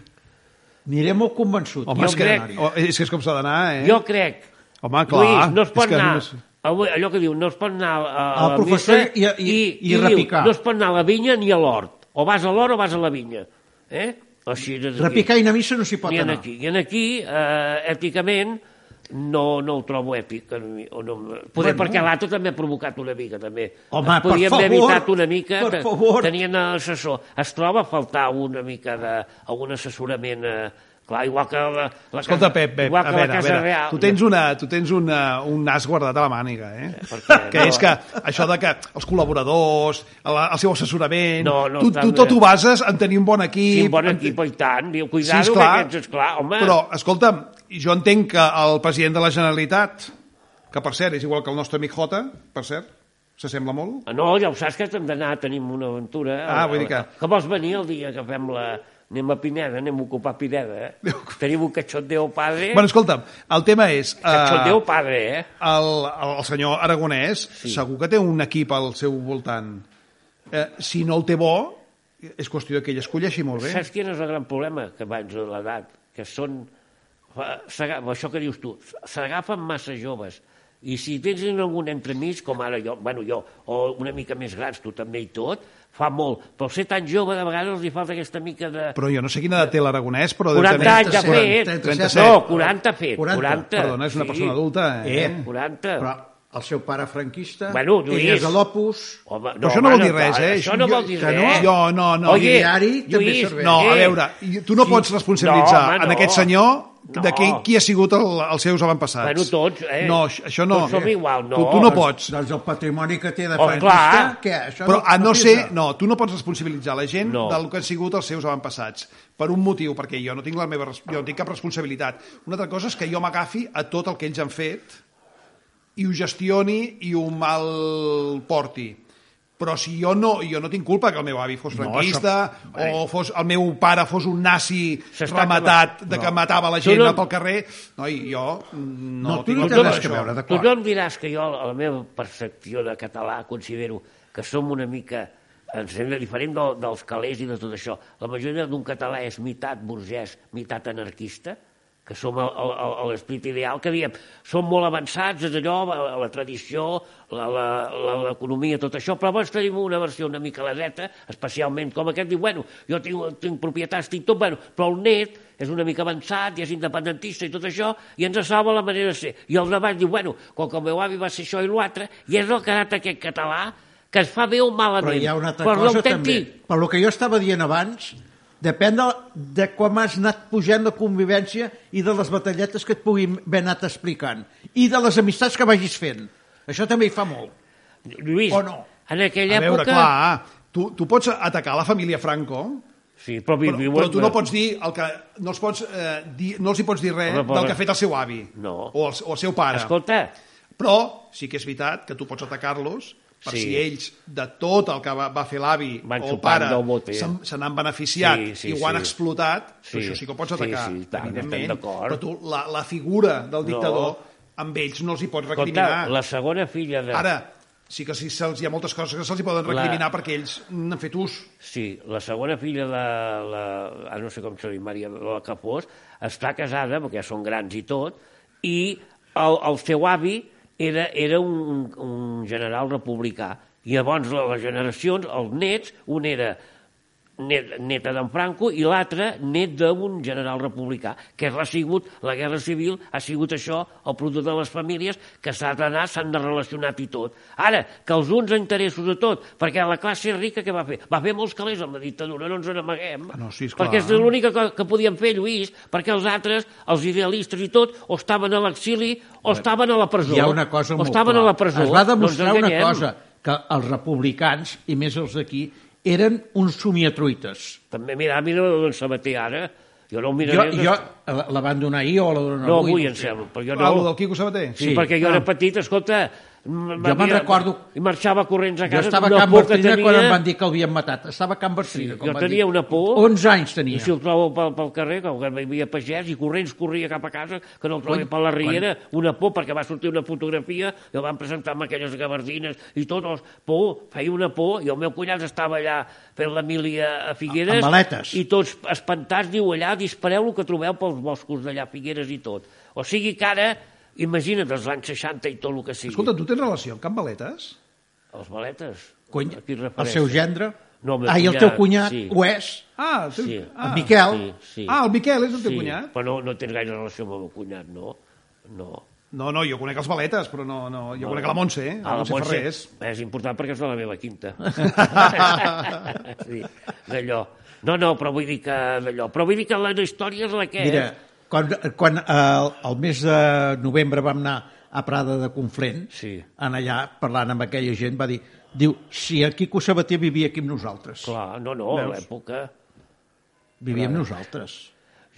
B: Aniré molt convençut.
A: Jo
C: Home, és que,
A: crec-
C: oh, és que és com s'ha d'anar, eh?
A: Jo crec.
C: Home, Ah, clar,
A: Lluís, no es
C: és
A: pot
C: que
A: anar...
C: només-
A: Avui, allò que diu, no es pot anar a, a
B: Al
A: la
B: professor
A: missa
B: i a- i- i
A: diu,
B: repicar.
A: no es pot anar a la vinya ni a l'hort. O vas a l'hort o vas a la vinya. Eh? Així, des d'aquí.
B: Repicar i anar a missa no s'hi pot
A: I en
B: anar.
A: aquí, i en aquí eh, èticament, no, no ho trobo èpic. a mi, O no, poder
B: Bueno.
A: bueno. perquè l'Ato també ha provocat una mica, també.
B: Home,
A: Es podien
B: per
A: haver
B: favor,
A: evitat una mica.
B: per
A: te-
B: favor.
A: Tenien l'assessor. Es troba a faltar una mica de, algun assessorament... Eh, clar, igual que la, la
C: Escolta,
A: casa,
C: Pep, Pep,
A: igual
C: a
A: que
C: veure,
A: la
C: a
A: Casa
C: veure,
A: Real.
C: tu tens, una, tu tens una, un nas guardat a la màniga, eh?
A: perquè
C: que
A: no-
C: és que això de que els col·laboradors, el, el seu assessorament...
A: No, no
C: tu,
A: està
C: tu
A: bé.
C: tot ho bases en tenir un bon
A: Sí,
C: equip...
A: un bon
C: en-
A: equip, i tant. Diu, cuidado, sí,
C: esclar,
A: que aquests, esclar, doncs, home.
C: Però, escolta'm, jo entenc que el president de la Generalitat, que per cert és igual que el nostre amic Jota, per cert, s'assembla molt...
A: Ah, No, ja ho saps que hem d'anar, tenim una aventura.
C: Ah, vull dir que-
A: Que vols venir el dia que fem la... Anem a Pineda, anem a ocupar Pineda,
C: [laughs]
A: eh? Tenim un cachondeo padre.
C: Bueno, escolta'm, el tema és... eh,
A: cachondeo padre, eh?
C: el, el, el senyor Aragonès sí. segur que té un equip al seu voltant. Eh, si no el té bo, és qüestió de que ell es colleixi molt bé.
A: Saps quin és el gran problema que abans de l'edat? Que són... fa- s'aga- Això que dius tu, s'agafen massa joves. I si tens algun entremig, com ara jo, bueno, jo, o una mica més grans, tu també i tot, fa molt. Però ser tan jove, de vegades els hi falta aquesta mica de...
C: Però jo no sé quina edat té l'Aragonès, però... deu
A: 40 anys ja
B: 37,
A: fet.
B: 37.
A: No, 40 fet.
B: 40,
A: 40,
C: Perdona, és una persona adulta, eh?
B: Eh,
A: 40.
B: Però el seu pare franquista,
A: Bueno,
B: ell
A: Lluís.
B: és de l'Opus...
A: Home,
C: Però això no vol
A: home,
C: dir res, eh?
A: Això no
C: Jo-
A: vol dir
B: que
A: res.
B: no,
C: jo no, no.
A: Oye,
B: Diari també
A: Lluís,
B: serveix.
C: No, a
A: eh,
C: veure, i- tu no pots responsabilitzar
A: No, home,
C: en
A: no.
C: aquest senyor de
A: No.
C: qui, qui ha sigut el, els seus avantpassats.
A: Bueno, tots, eh?
C: No, això- això no.
A: Tots som igual, no.
C: Tu, tu no
A: Doncs-
C: pots.
B: Doncs el patrimoni que té de
A: Oh,
B: franquista...
A: clar.
B: Què, això
C: Però a no
B: és
C: ser...
B: de-
C: No, tu no pots responsabilitzar la gent
A: No.
C: del que han sigut els seus avantpassats. Per un motiu, perquè jo no tinc, la meva, res- jo no tinc cap responsabilitat. Una altra cosa és que jo m'agafi a tot el que ells han fet i ho gestioni i ho mal porti. Però si jo no, jo no tinc culpa que el meu avi fos franquista no, o fos, el meu pare fos un nazi
A: S'està
C: rematat de que matava la gent
A: no-
C: pel carrer... Noi, jo mm, no,
B: No, tu no té
C: tinc culpa
B: res
C: d'això.
B: que veure,
A: Tu
B: d'acord.
A: no em diràs que jo, a la meva percepció de català, considero que som una mica ens sembla diferent del, dels calés i de tot això. La majoria d'un català és meitat burgès, meitat anarquista, que som el- el- el- a l'esperit ideal, que diem, som molt avançats, és allò, la, la tradició, la- la- la- l'economia, tot això, però llavors tenim una versió una mica ladeta, especialment com aquest, diu, bueno, jo tinc, tinc propietats, tinc tot, bueno, però el net és una mica avançat i és independentista i tot això, i ens salva la manera de ser. I el davant diu, bueno, com que el meu avi va ser això i l'altre, i és el que ha anat aquest català, que es fa bé o malament.
B: Però hi ha una altra
A: però
B: cosa també.
A: l'autèntic-
B: Per el que jo estava dient abans, depèn de, de com has anat pujant la convivència i de les batalletes que et puguin haver anat explicant i de les amistats que vagis fent. Això també hi fa molt.
A: Lluís,
B: O no?
A: en aquella
C: A veure,
A: època...
C: clar, tu, tu pots atacar la família Franco,
A: Sí, però, vi-
C: Però,
A: viuen-
C: però tu no pots dir el que no els pots eh, dir, no els hi pots dir res
A: Home,
C: del
A: pobre.
C: que ha fet el seu avi
A: No.
C: o, el, o el seu pare.
A: Escolta,
C: Però sí que és veritat que tu pots atacar-los per
A: Sí.
C: si ells, de tot el que va, va fer l'avi o
A: Van
C: el
A: xupant
C: pare,
A: del bote.
C: se'n- se n'han beneficiat
A: Sí, sí,
C: i ho han
A: sí.
C: explotat,
A: Sí.
C: això sí que ho pots
A: Sí,
C: atacar,
A: sí, i tant,
C: evidentment.
A: estem d'acord.
C: Però tu, la, la figura del dictador, amb ells no els hi pots
A: escolta,
C: recriminar.
A: la segona filla de...
C: Ara, sí que sí, se'ls hi ha moltes coses que se'ls hi poden
A: La-
C: recriminar perquè ells n'han fet ús.
A: Sí, la segona filla de la... ah, no sé com se diu, Maria, la que fos, està casada, perquè ja són grans i tot, i el, el seu avi era, era un, un general republicà. I llavors la- les generacions, els nets, un era net, neta d'en Franco i l'altre net d'un general republicà, que ha sigut la guerra civil, ha sigut això, el producte de les famílies, que s'ha d'anar, s'han de relacionar i tot. Ara, que els uns interessos de tot, perquè la classe rica que va fer? Va fer molts calés amb la dictadura, no ens n'amaguem.
C: Ah, no, sí, esclar.
A: perquè és
B: eh?
A: l'única cosa que podien fer, Lluís, perquè els altres, els idealistes i tot, o estaven a l'exili o estaven a la presó.
B: Hi ha una cosa
A: o
B: molt
A: estaven
B: clara.
A: a la presó. eh? Doncs
B: Es
A: No
B: va
A: ens
B: demostrar una
A: enganyem.
B: cosa, que els republicans, i més els d'aquí, eren uns somiatruites.
A: També, mira, mira d'en Sabater ara. Jo no ho
B: Jo,
A: miraré...
B: jo eh, la, la van donar ahir o la donen
A: No,
B: avui?
A: avui
B: no
A: em
B: sé.
A: sembla, però jo
C: Algo
A: no...
C: del Quico Sabater?
A: Sí,
B: Sí,
A: perquè jo
B: ah.
A: era petit, escolta, Jo
B: me'n recordo-
A: I marxava corrents a
B: Jo
A: casa.
B: estava a
A: una
B: Can
A: por que
B: Bertrina
A: tenia...
B: quan em van dir que l'havien matat. Estava a Can Bertrina.
A: Sí,
B: quan
A: jo
B: van
A: tenia
B: dir.
A: una por.
B: 11 anys
A: I
B: tenia.
A: si el trobo pel, pel carrer, com que hi havia pagès, i corrents corria cap a casa, que no el trobi
B: Quan-
A: per la riera, una por, perquè va sortir una fotografia, i el van presentar amb aquelles gabardines i tot, els, por, feia una por, i el meu cunyat estava allà fent l'Emília a Figueres,
B: Amb maletes.
A: i tots espantats, diu allà, dispareu el que trobeu pels boscos d'allà, a Figueres i tot. O sigui que ara, imagina't, els anys 60 i tot el que sigui.
C: Escolta, tu tens relació amb Can Baletes?
A: Els baletes.
B: Cony,
A: A qui et
B: el seu
A: refereixes?
B: gendre?
A: No, el meu
B: ah, i el
A: cunyat,
B: teu cunyat
A: sí.
B: ho és?
C: Ah, el teu...
A: Sí.
C: ah.
B: El Miquel?
A: Sí, sí.
C: Ah, el Miquel és el teu
A: sí,
C: cunyat?
A: però no, no tens gaire relació amb el meu cunyat, no? No.
C: No, no, jo conec els Baletes, però no, no. Jo conec la Montse, eh? La,
A: Ah, la
C: Montse,
A: Montse
C: Ferrés.
A: És important perquè és de la meva
C: [laughs]
A: quinta. sí, d'allò. No, no, però vull dir que d'allò. Però vull dir que la història és la que...
B: Mira, quan, quan eh, el, el mes de novembre vam anar a Prada de Conflent,
A: Sí.
B: en allà, parlant amb aquella gent, va dir, diu, si el Quico Sabater vivia aquí amb nosaltres,
A: Clar, no, no, a
B: Veus?
A: l'època...
B: vivia amb nosaltres.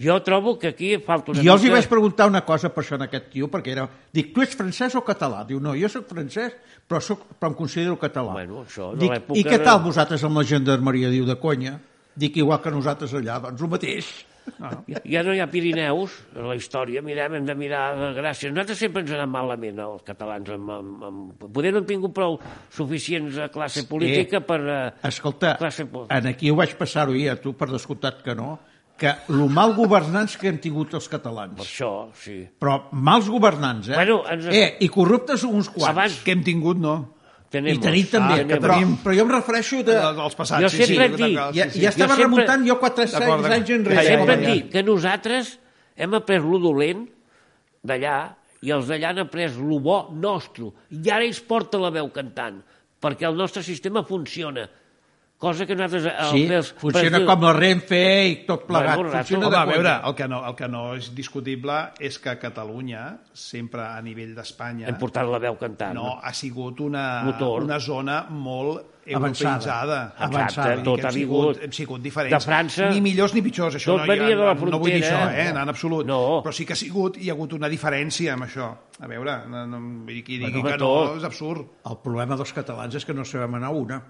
A: Jo trobo que aquí falta una
B: Jo els hi
A: mica-
B: vaig preguntar una cosa per això en aquest tio, perquè era... Dic, tu ets francès o català? Diu, no, jo sóc francès, però, soc, però em considero català.
A: Bueno, això de
B: Dic,
A: l'època
B: I què
A: era-
B: tal vosaltres amb la gendarmeria? Diu, de conya. Dic, igual que nosaltres allà, doncs el mateix.
A: Ja- Ja no hi ha Pirineus en la història, mirem, hem de mirar eh, gràcies. Nosaltres sempre ens anem malament, eh, els catalans. Amb, amb, amb... Poder no hem tingut prou suficients eh, classe política per... eh,
B: Escolta,
A: Classe po-
B: en aquí ho vaig passar-ho i a tu, per descomptat que no, que lo mal governants que hem tingut els
A: Per
B: catalans.
A: això, sí.
B: Però mals governants, eh?
A: Bueno, ens-
B: eh I corruptes uns quants.
A: Abans-
C: Que hem tingut, no?
B: I
A: Tenemos,
B: tenim també,
A: tenemos.
B: que tenim... Però, però jo em refereixo de...
C: Els els passats,
A: Ah, Jo
C: sí, sí. Ah,
A: sempre he dit-
B: Ja,
C: sí, sí.
B: ja estava
A: Jo sempre-
B: remuntant jo 4
C: D'acord,
B: anys,
C: d'acord.
B: anys
A: Que
B: enrere.
C: Ja, ja,
A: sempre
C: ja,
A: hem
C: ja.
A: dit que nosaltres hem après lo dolent d'allà i els d'allà han après lo bo nostre. I ara ells porta la veu cantant, perquè el nostre sistema funciona. Cosa que nosaltres... eh, els
B: Sí,
A: meus
B: funciona
A: presidents-
B: com la Renfe i tot plegat.
A: Bueno, rato.
B: funciona
C: Home,
B: de
C: a veure,
B: conya.
C: el que, no, el que no és discutible és que Catalunya, sempre a nivell d'Espanya,
A: Hem portat la veu cantant.
C: no, ha sigut una,
A: Motor.
C: una zona
B: Avançada.
C: molt europeitzada.
B: Avançada.
C: Vull dir
A: tot
C: que
A: ha
C: hem sigut,
A: vingut
C: hem sigut diferents.
A: de França.
C: Ni millors ni pitjors, això
A: Tot
C: no,
A: venia de la
C: no vull dir això,
A: frontera.
C: eh, en absolut.
A: No.
C: Però sí que ha sigut, hi ha hagut una diferència amb això. A veure, no, no, vull dir, qui digui
A: Bueno,
C: que no,
A: tot.
C: és absurd.
B: El problema dels catalans és que no sabem anar a una.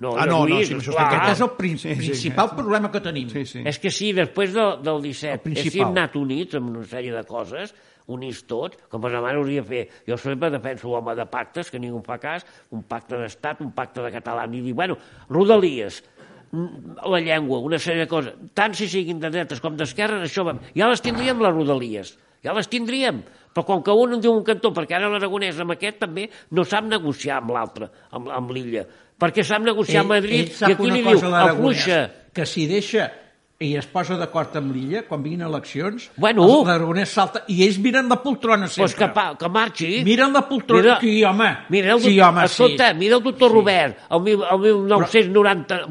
A: No,
C: Ah, no, no,
A: Lluís,
C: sí, amb això
A: clar.
C: estic
B: Aquest
C: Ah,
B: és el prin
C: sí, sí,
B: principal problema que tenim.
C: Sí, sí.
A: És que sí, després de, del 17,
B: El
A: és si
B: principal.
A: hem anat units amb una sèrie de coses, units tots, com per demà hauria de fer. Jo sempre defenso l'home de pactes, que ningú em fa cas, un pacte d'estat, un pacte de català, i dic, bueno, rodalies, mm, la llengua, una sèrie de coses, tant si siguin de dretes com d'esquerres, això va... Ja les tindríem, les rodalies, ja les tindríem, però com que un en diu un cantó, perquè ara l'aragonès amb aquest també no sap negociar amb l'altre, amb, amb l'illa, perquè sap negociar amb Madrid, i aquí li diu, eh. afluixa,
B: que si deixa i es posa d'acord amb l'illa, quan vinguin eleccions,
A: Bueno.
B: els- l'Aragonès salta i ells miren la poltrona sempre.
A: Pues Doncs que, pa, que marxi.
B: Miren la poltrona. Sí, home.
A: Mira el,
B: Sí,
A: doc-
B: home, sí.
A: escolta, mira el doctor Robert, el, mil- el 1990,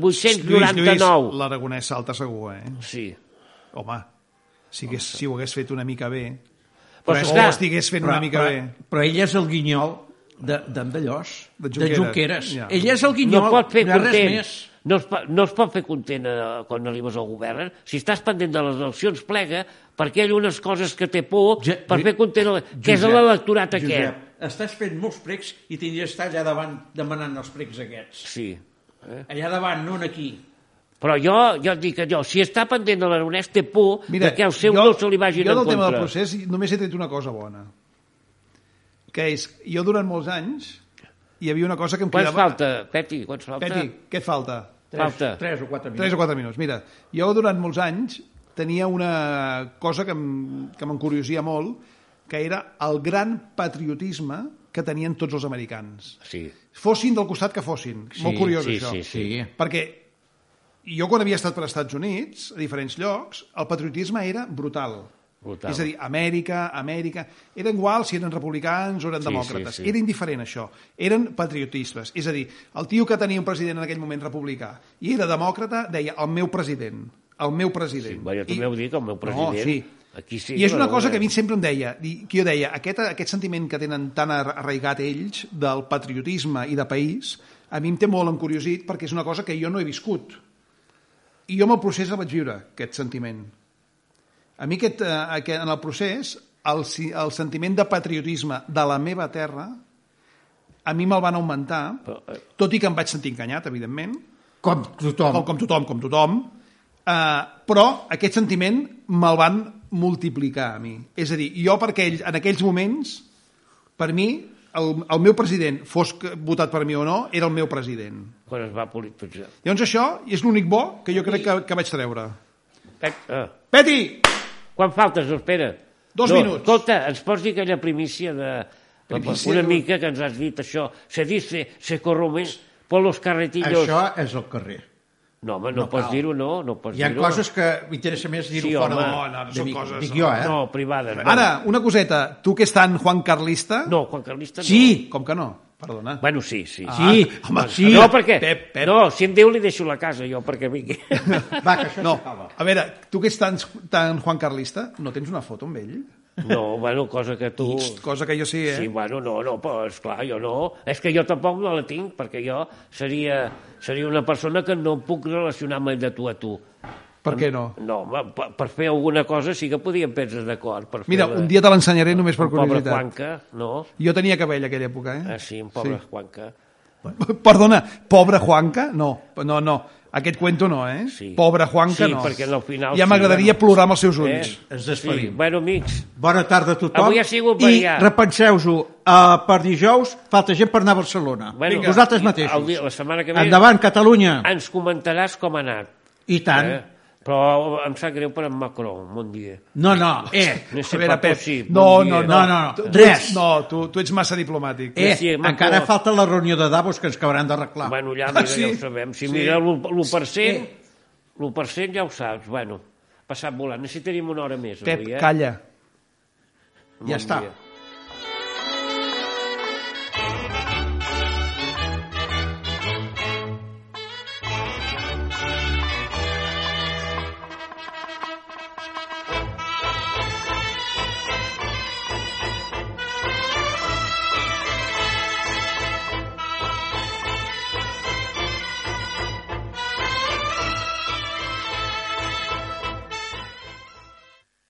A: 899.
C: Lluís, l'Aragonès salta segur, eh?
A: sí.
C: Home, si, hagués, si ho hagués fet una mica bé,
A: Però
C: però,
A: és
C: o
A: clar,
C: ho estigués fent una mica
B: però,
C: bé...
B: Però ell és el guinyol de- d'en Bellós,
C: De
B: de
C: Junqueras.
B: Junqueras. De Junqueras.
C: Ja.
B: Ja. Ell és el
A: No
B: guinyol,
A: es pot fer
B: no hi ha res
A: content.
B: més.
A: No es, po- no es pot fer content eh, quan arribes al govern. eh? Si estàs pendent de les eleccions, plega, perquè ell unes coses que té por
B: Ja-
A: per
B: Ju-
A: fer content... El, que és
B: Josep,
A: l'electorat aquest.
B: Josep, estàs fent molts precs i tindries estar allà davant demanant els precs aquests.
A: Sí.
B: Allà davant, no aquí.
A: Però jo, jo et dic que jo, si està pendent de l'Aronès, té por Mira, que el seu no se li vagin
C: jo
A: en
C: del tema
A: contra.
C: del procés només he tret una cosa bona, que és, jo durant molts anys hi havia una cosa que em
A: Quants
C: cridava...
A: falta, Peti? Quants falta?
C: Peti, què et falta?
B: Tres,
A: Falta.
B: tres o quatre
C: Tres
B: minuts.
C: o quatre minuts. Mira, jo durant molts anys tenia una cosa que em- que m'encuriosia molt, que era el gran patriotisme que tenien tots els americans.
A: Sí.
C: Fossin del costat que fossin.
A: Sí,
C: molt curiós,
A: sí,
C: això.
A: sí, sí.
C: Perquè jo quan havia estat per als Estats Units, a diferents llocs, el patriotisme era brutal.
A: Brutal.
C: És a dir, Amèrica, Amèrica... Era igual si eren republicans o eren
A: Sí,
C: demòcrates.
A: sí, sí.
C: Era indiferent, això. Eren patriotistes. És a dir, el tio que tenia un president en aquell moment republicà i era demòcrata deia el meu president, el meu president.
A: Sí, vaja, tu
C: I-
A: m'heu dit el meu president. Aquí sí,
C: I és una
A: però bé.
C: cosa que a mi sempre em deia, i que jo deia, aquest, aquest sentiment que tenen tan ar- arraigat ells del patriotisme i de país, a mi em té molt encuriosit perquè és una cosa que jo no he viscut. I jo amb el procés el vaig viure, aquest sentiment. A mi aquest, eh, aquest, en el procés, el, si- el sentiment de patriotisme de la meva terra a mi me'l van augmentar,
A: Però, eh.
C: tot i que em vaig sentir enganyat, evidentment,
B: Com tothom.
C: com, com tothom, com tothom, eh, però aquest sentiment me'l van multiplicar a mi. És a dir, jo per aquell, en aquells moments, per mi, el, el meu president, fos que- votat per mi o no, era el meu president.
A: Quan es va polititzar.
C: Llavors això és l'únic bo que jo crec que, que vaig treure.
A: Pep, ah.
C: Peti!
A: Quan faltes, espera?
C: Dos
A: no,
C: minuts.
A: Escolta, ens pots dir aquella primícia de...
C: Primícia
A: una
C: de-
A: mica que ens has dit això. Se dice, se corromen por los carretillos.
B: Això és el carrer.
A: No, home, no,
B: No
A: pots
B: cal.
A: dir-ho, no. No pots
B: Hi ha
A: dir-ho.
B: coses que m'interessa més dir-ho
A: Sí,
B: fora.
A: home.
B: de-
C: No, no, no,
B: de
C: són
B: Vic.
C: coses,
B: Dic
C: no.
B: jo, eh?
A: No, privades. No.
C: Ara, una coseta. Tu que ets tan Juan Carlista...
A: No, Juan Carlista no.
B: Sí,
C: Com que no? Perdona.
A: Bueno, sí, sí.
B: sí,
C: Ah,
B: home,
C: home,
B: sí.
A: No, perquè...
C: Pep, Pep.
A: No, si em diu li deixo la casa, jo, perquè vingui.
B: Va, que això
C: No,
B: s'acaba.
C: a veure, tu que ets tan, tan Juan Carlista, no tens una foto amb ell?
A: [laughs] No, bueno, cosa que tu...
C: Cosa que jo sí, eh?
A: Sí, bueno, no, no, però esclar, jo no. És que jo tampoc no la tinc, perquè jo seria, seria una persona que no em puc relacionar mai de tu a tu.
C: Per què no?
A: No, home, per, per fer alguna cosa sí que podíem prendre d'acord. per fer
C: Mira,
A: la-
C: un dia te l'ensenyaré només per
A: un pobre
C: curiositat.
A: Juanca, no?
C: Jo tenia cabell a aquella època, eh?
A: Ah, sí, un pobre sí. Juanca.
C: [laughs] Perdona, pobre Juanca? No, no, no. Aquest cuento no, eh?
A: Sí.
C: Pobre Juanca
A: Sí,
C: no.
A: perquè al final
C: Ja
A: sí,
C: m'agradaria
A: bueno. Eh?
C: plorar amb els seus ulls.
B: Ens despedim.
A: Sí, bueno, amics,
B: Bona tarda a tothom.
A: Avui ha sigut
B: I
A: variat.
B: repenseu-ho, uh, per dijous falta gent per anar a Barcelona.
A: Bueno,
B: Vinga. Vosaltres
A: i-
B: mateixos.
A: el dia- la setmana que ve-
B: Endavant, Catalunya.
A: ens comentaràs com ha anat.
B: I tant.
A: Eh? Però em sap greu per en Macron, bon dia.
B: No, no, eh,
A: No
C: A
A: sé,
C: veure,
A: Paco,
C: Pep,
A: sí,
C: no,
A: bon
C: no,
A: dia.
C: no, no,
B: No, no,
C: Tu ets,
B: res.
C: no tu, tu ets massa diplomàtic.
B: eh,
A: sí, m'ha
B: encara
A: acabat.
B: falta la reunió de Davos que ens acabaran d'arreglar.
A: Bueno, ja, mira,
C: Sí.
A: ja ho sabem. Si
C: Sí.
A: Ah, sí. mira l'1%, l'1% ja ho saps. Bueno, passat volant. Necessitaríem una hora més
C: Pep,
A: avui, eh?
C: calla.
B: ja està.
A: dia.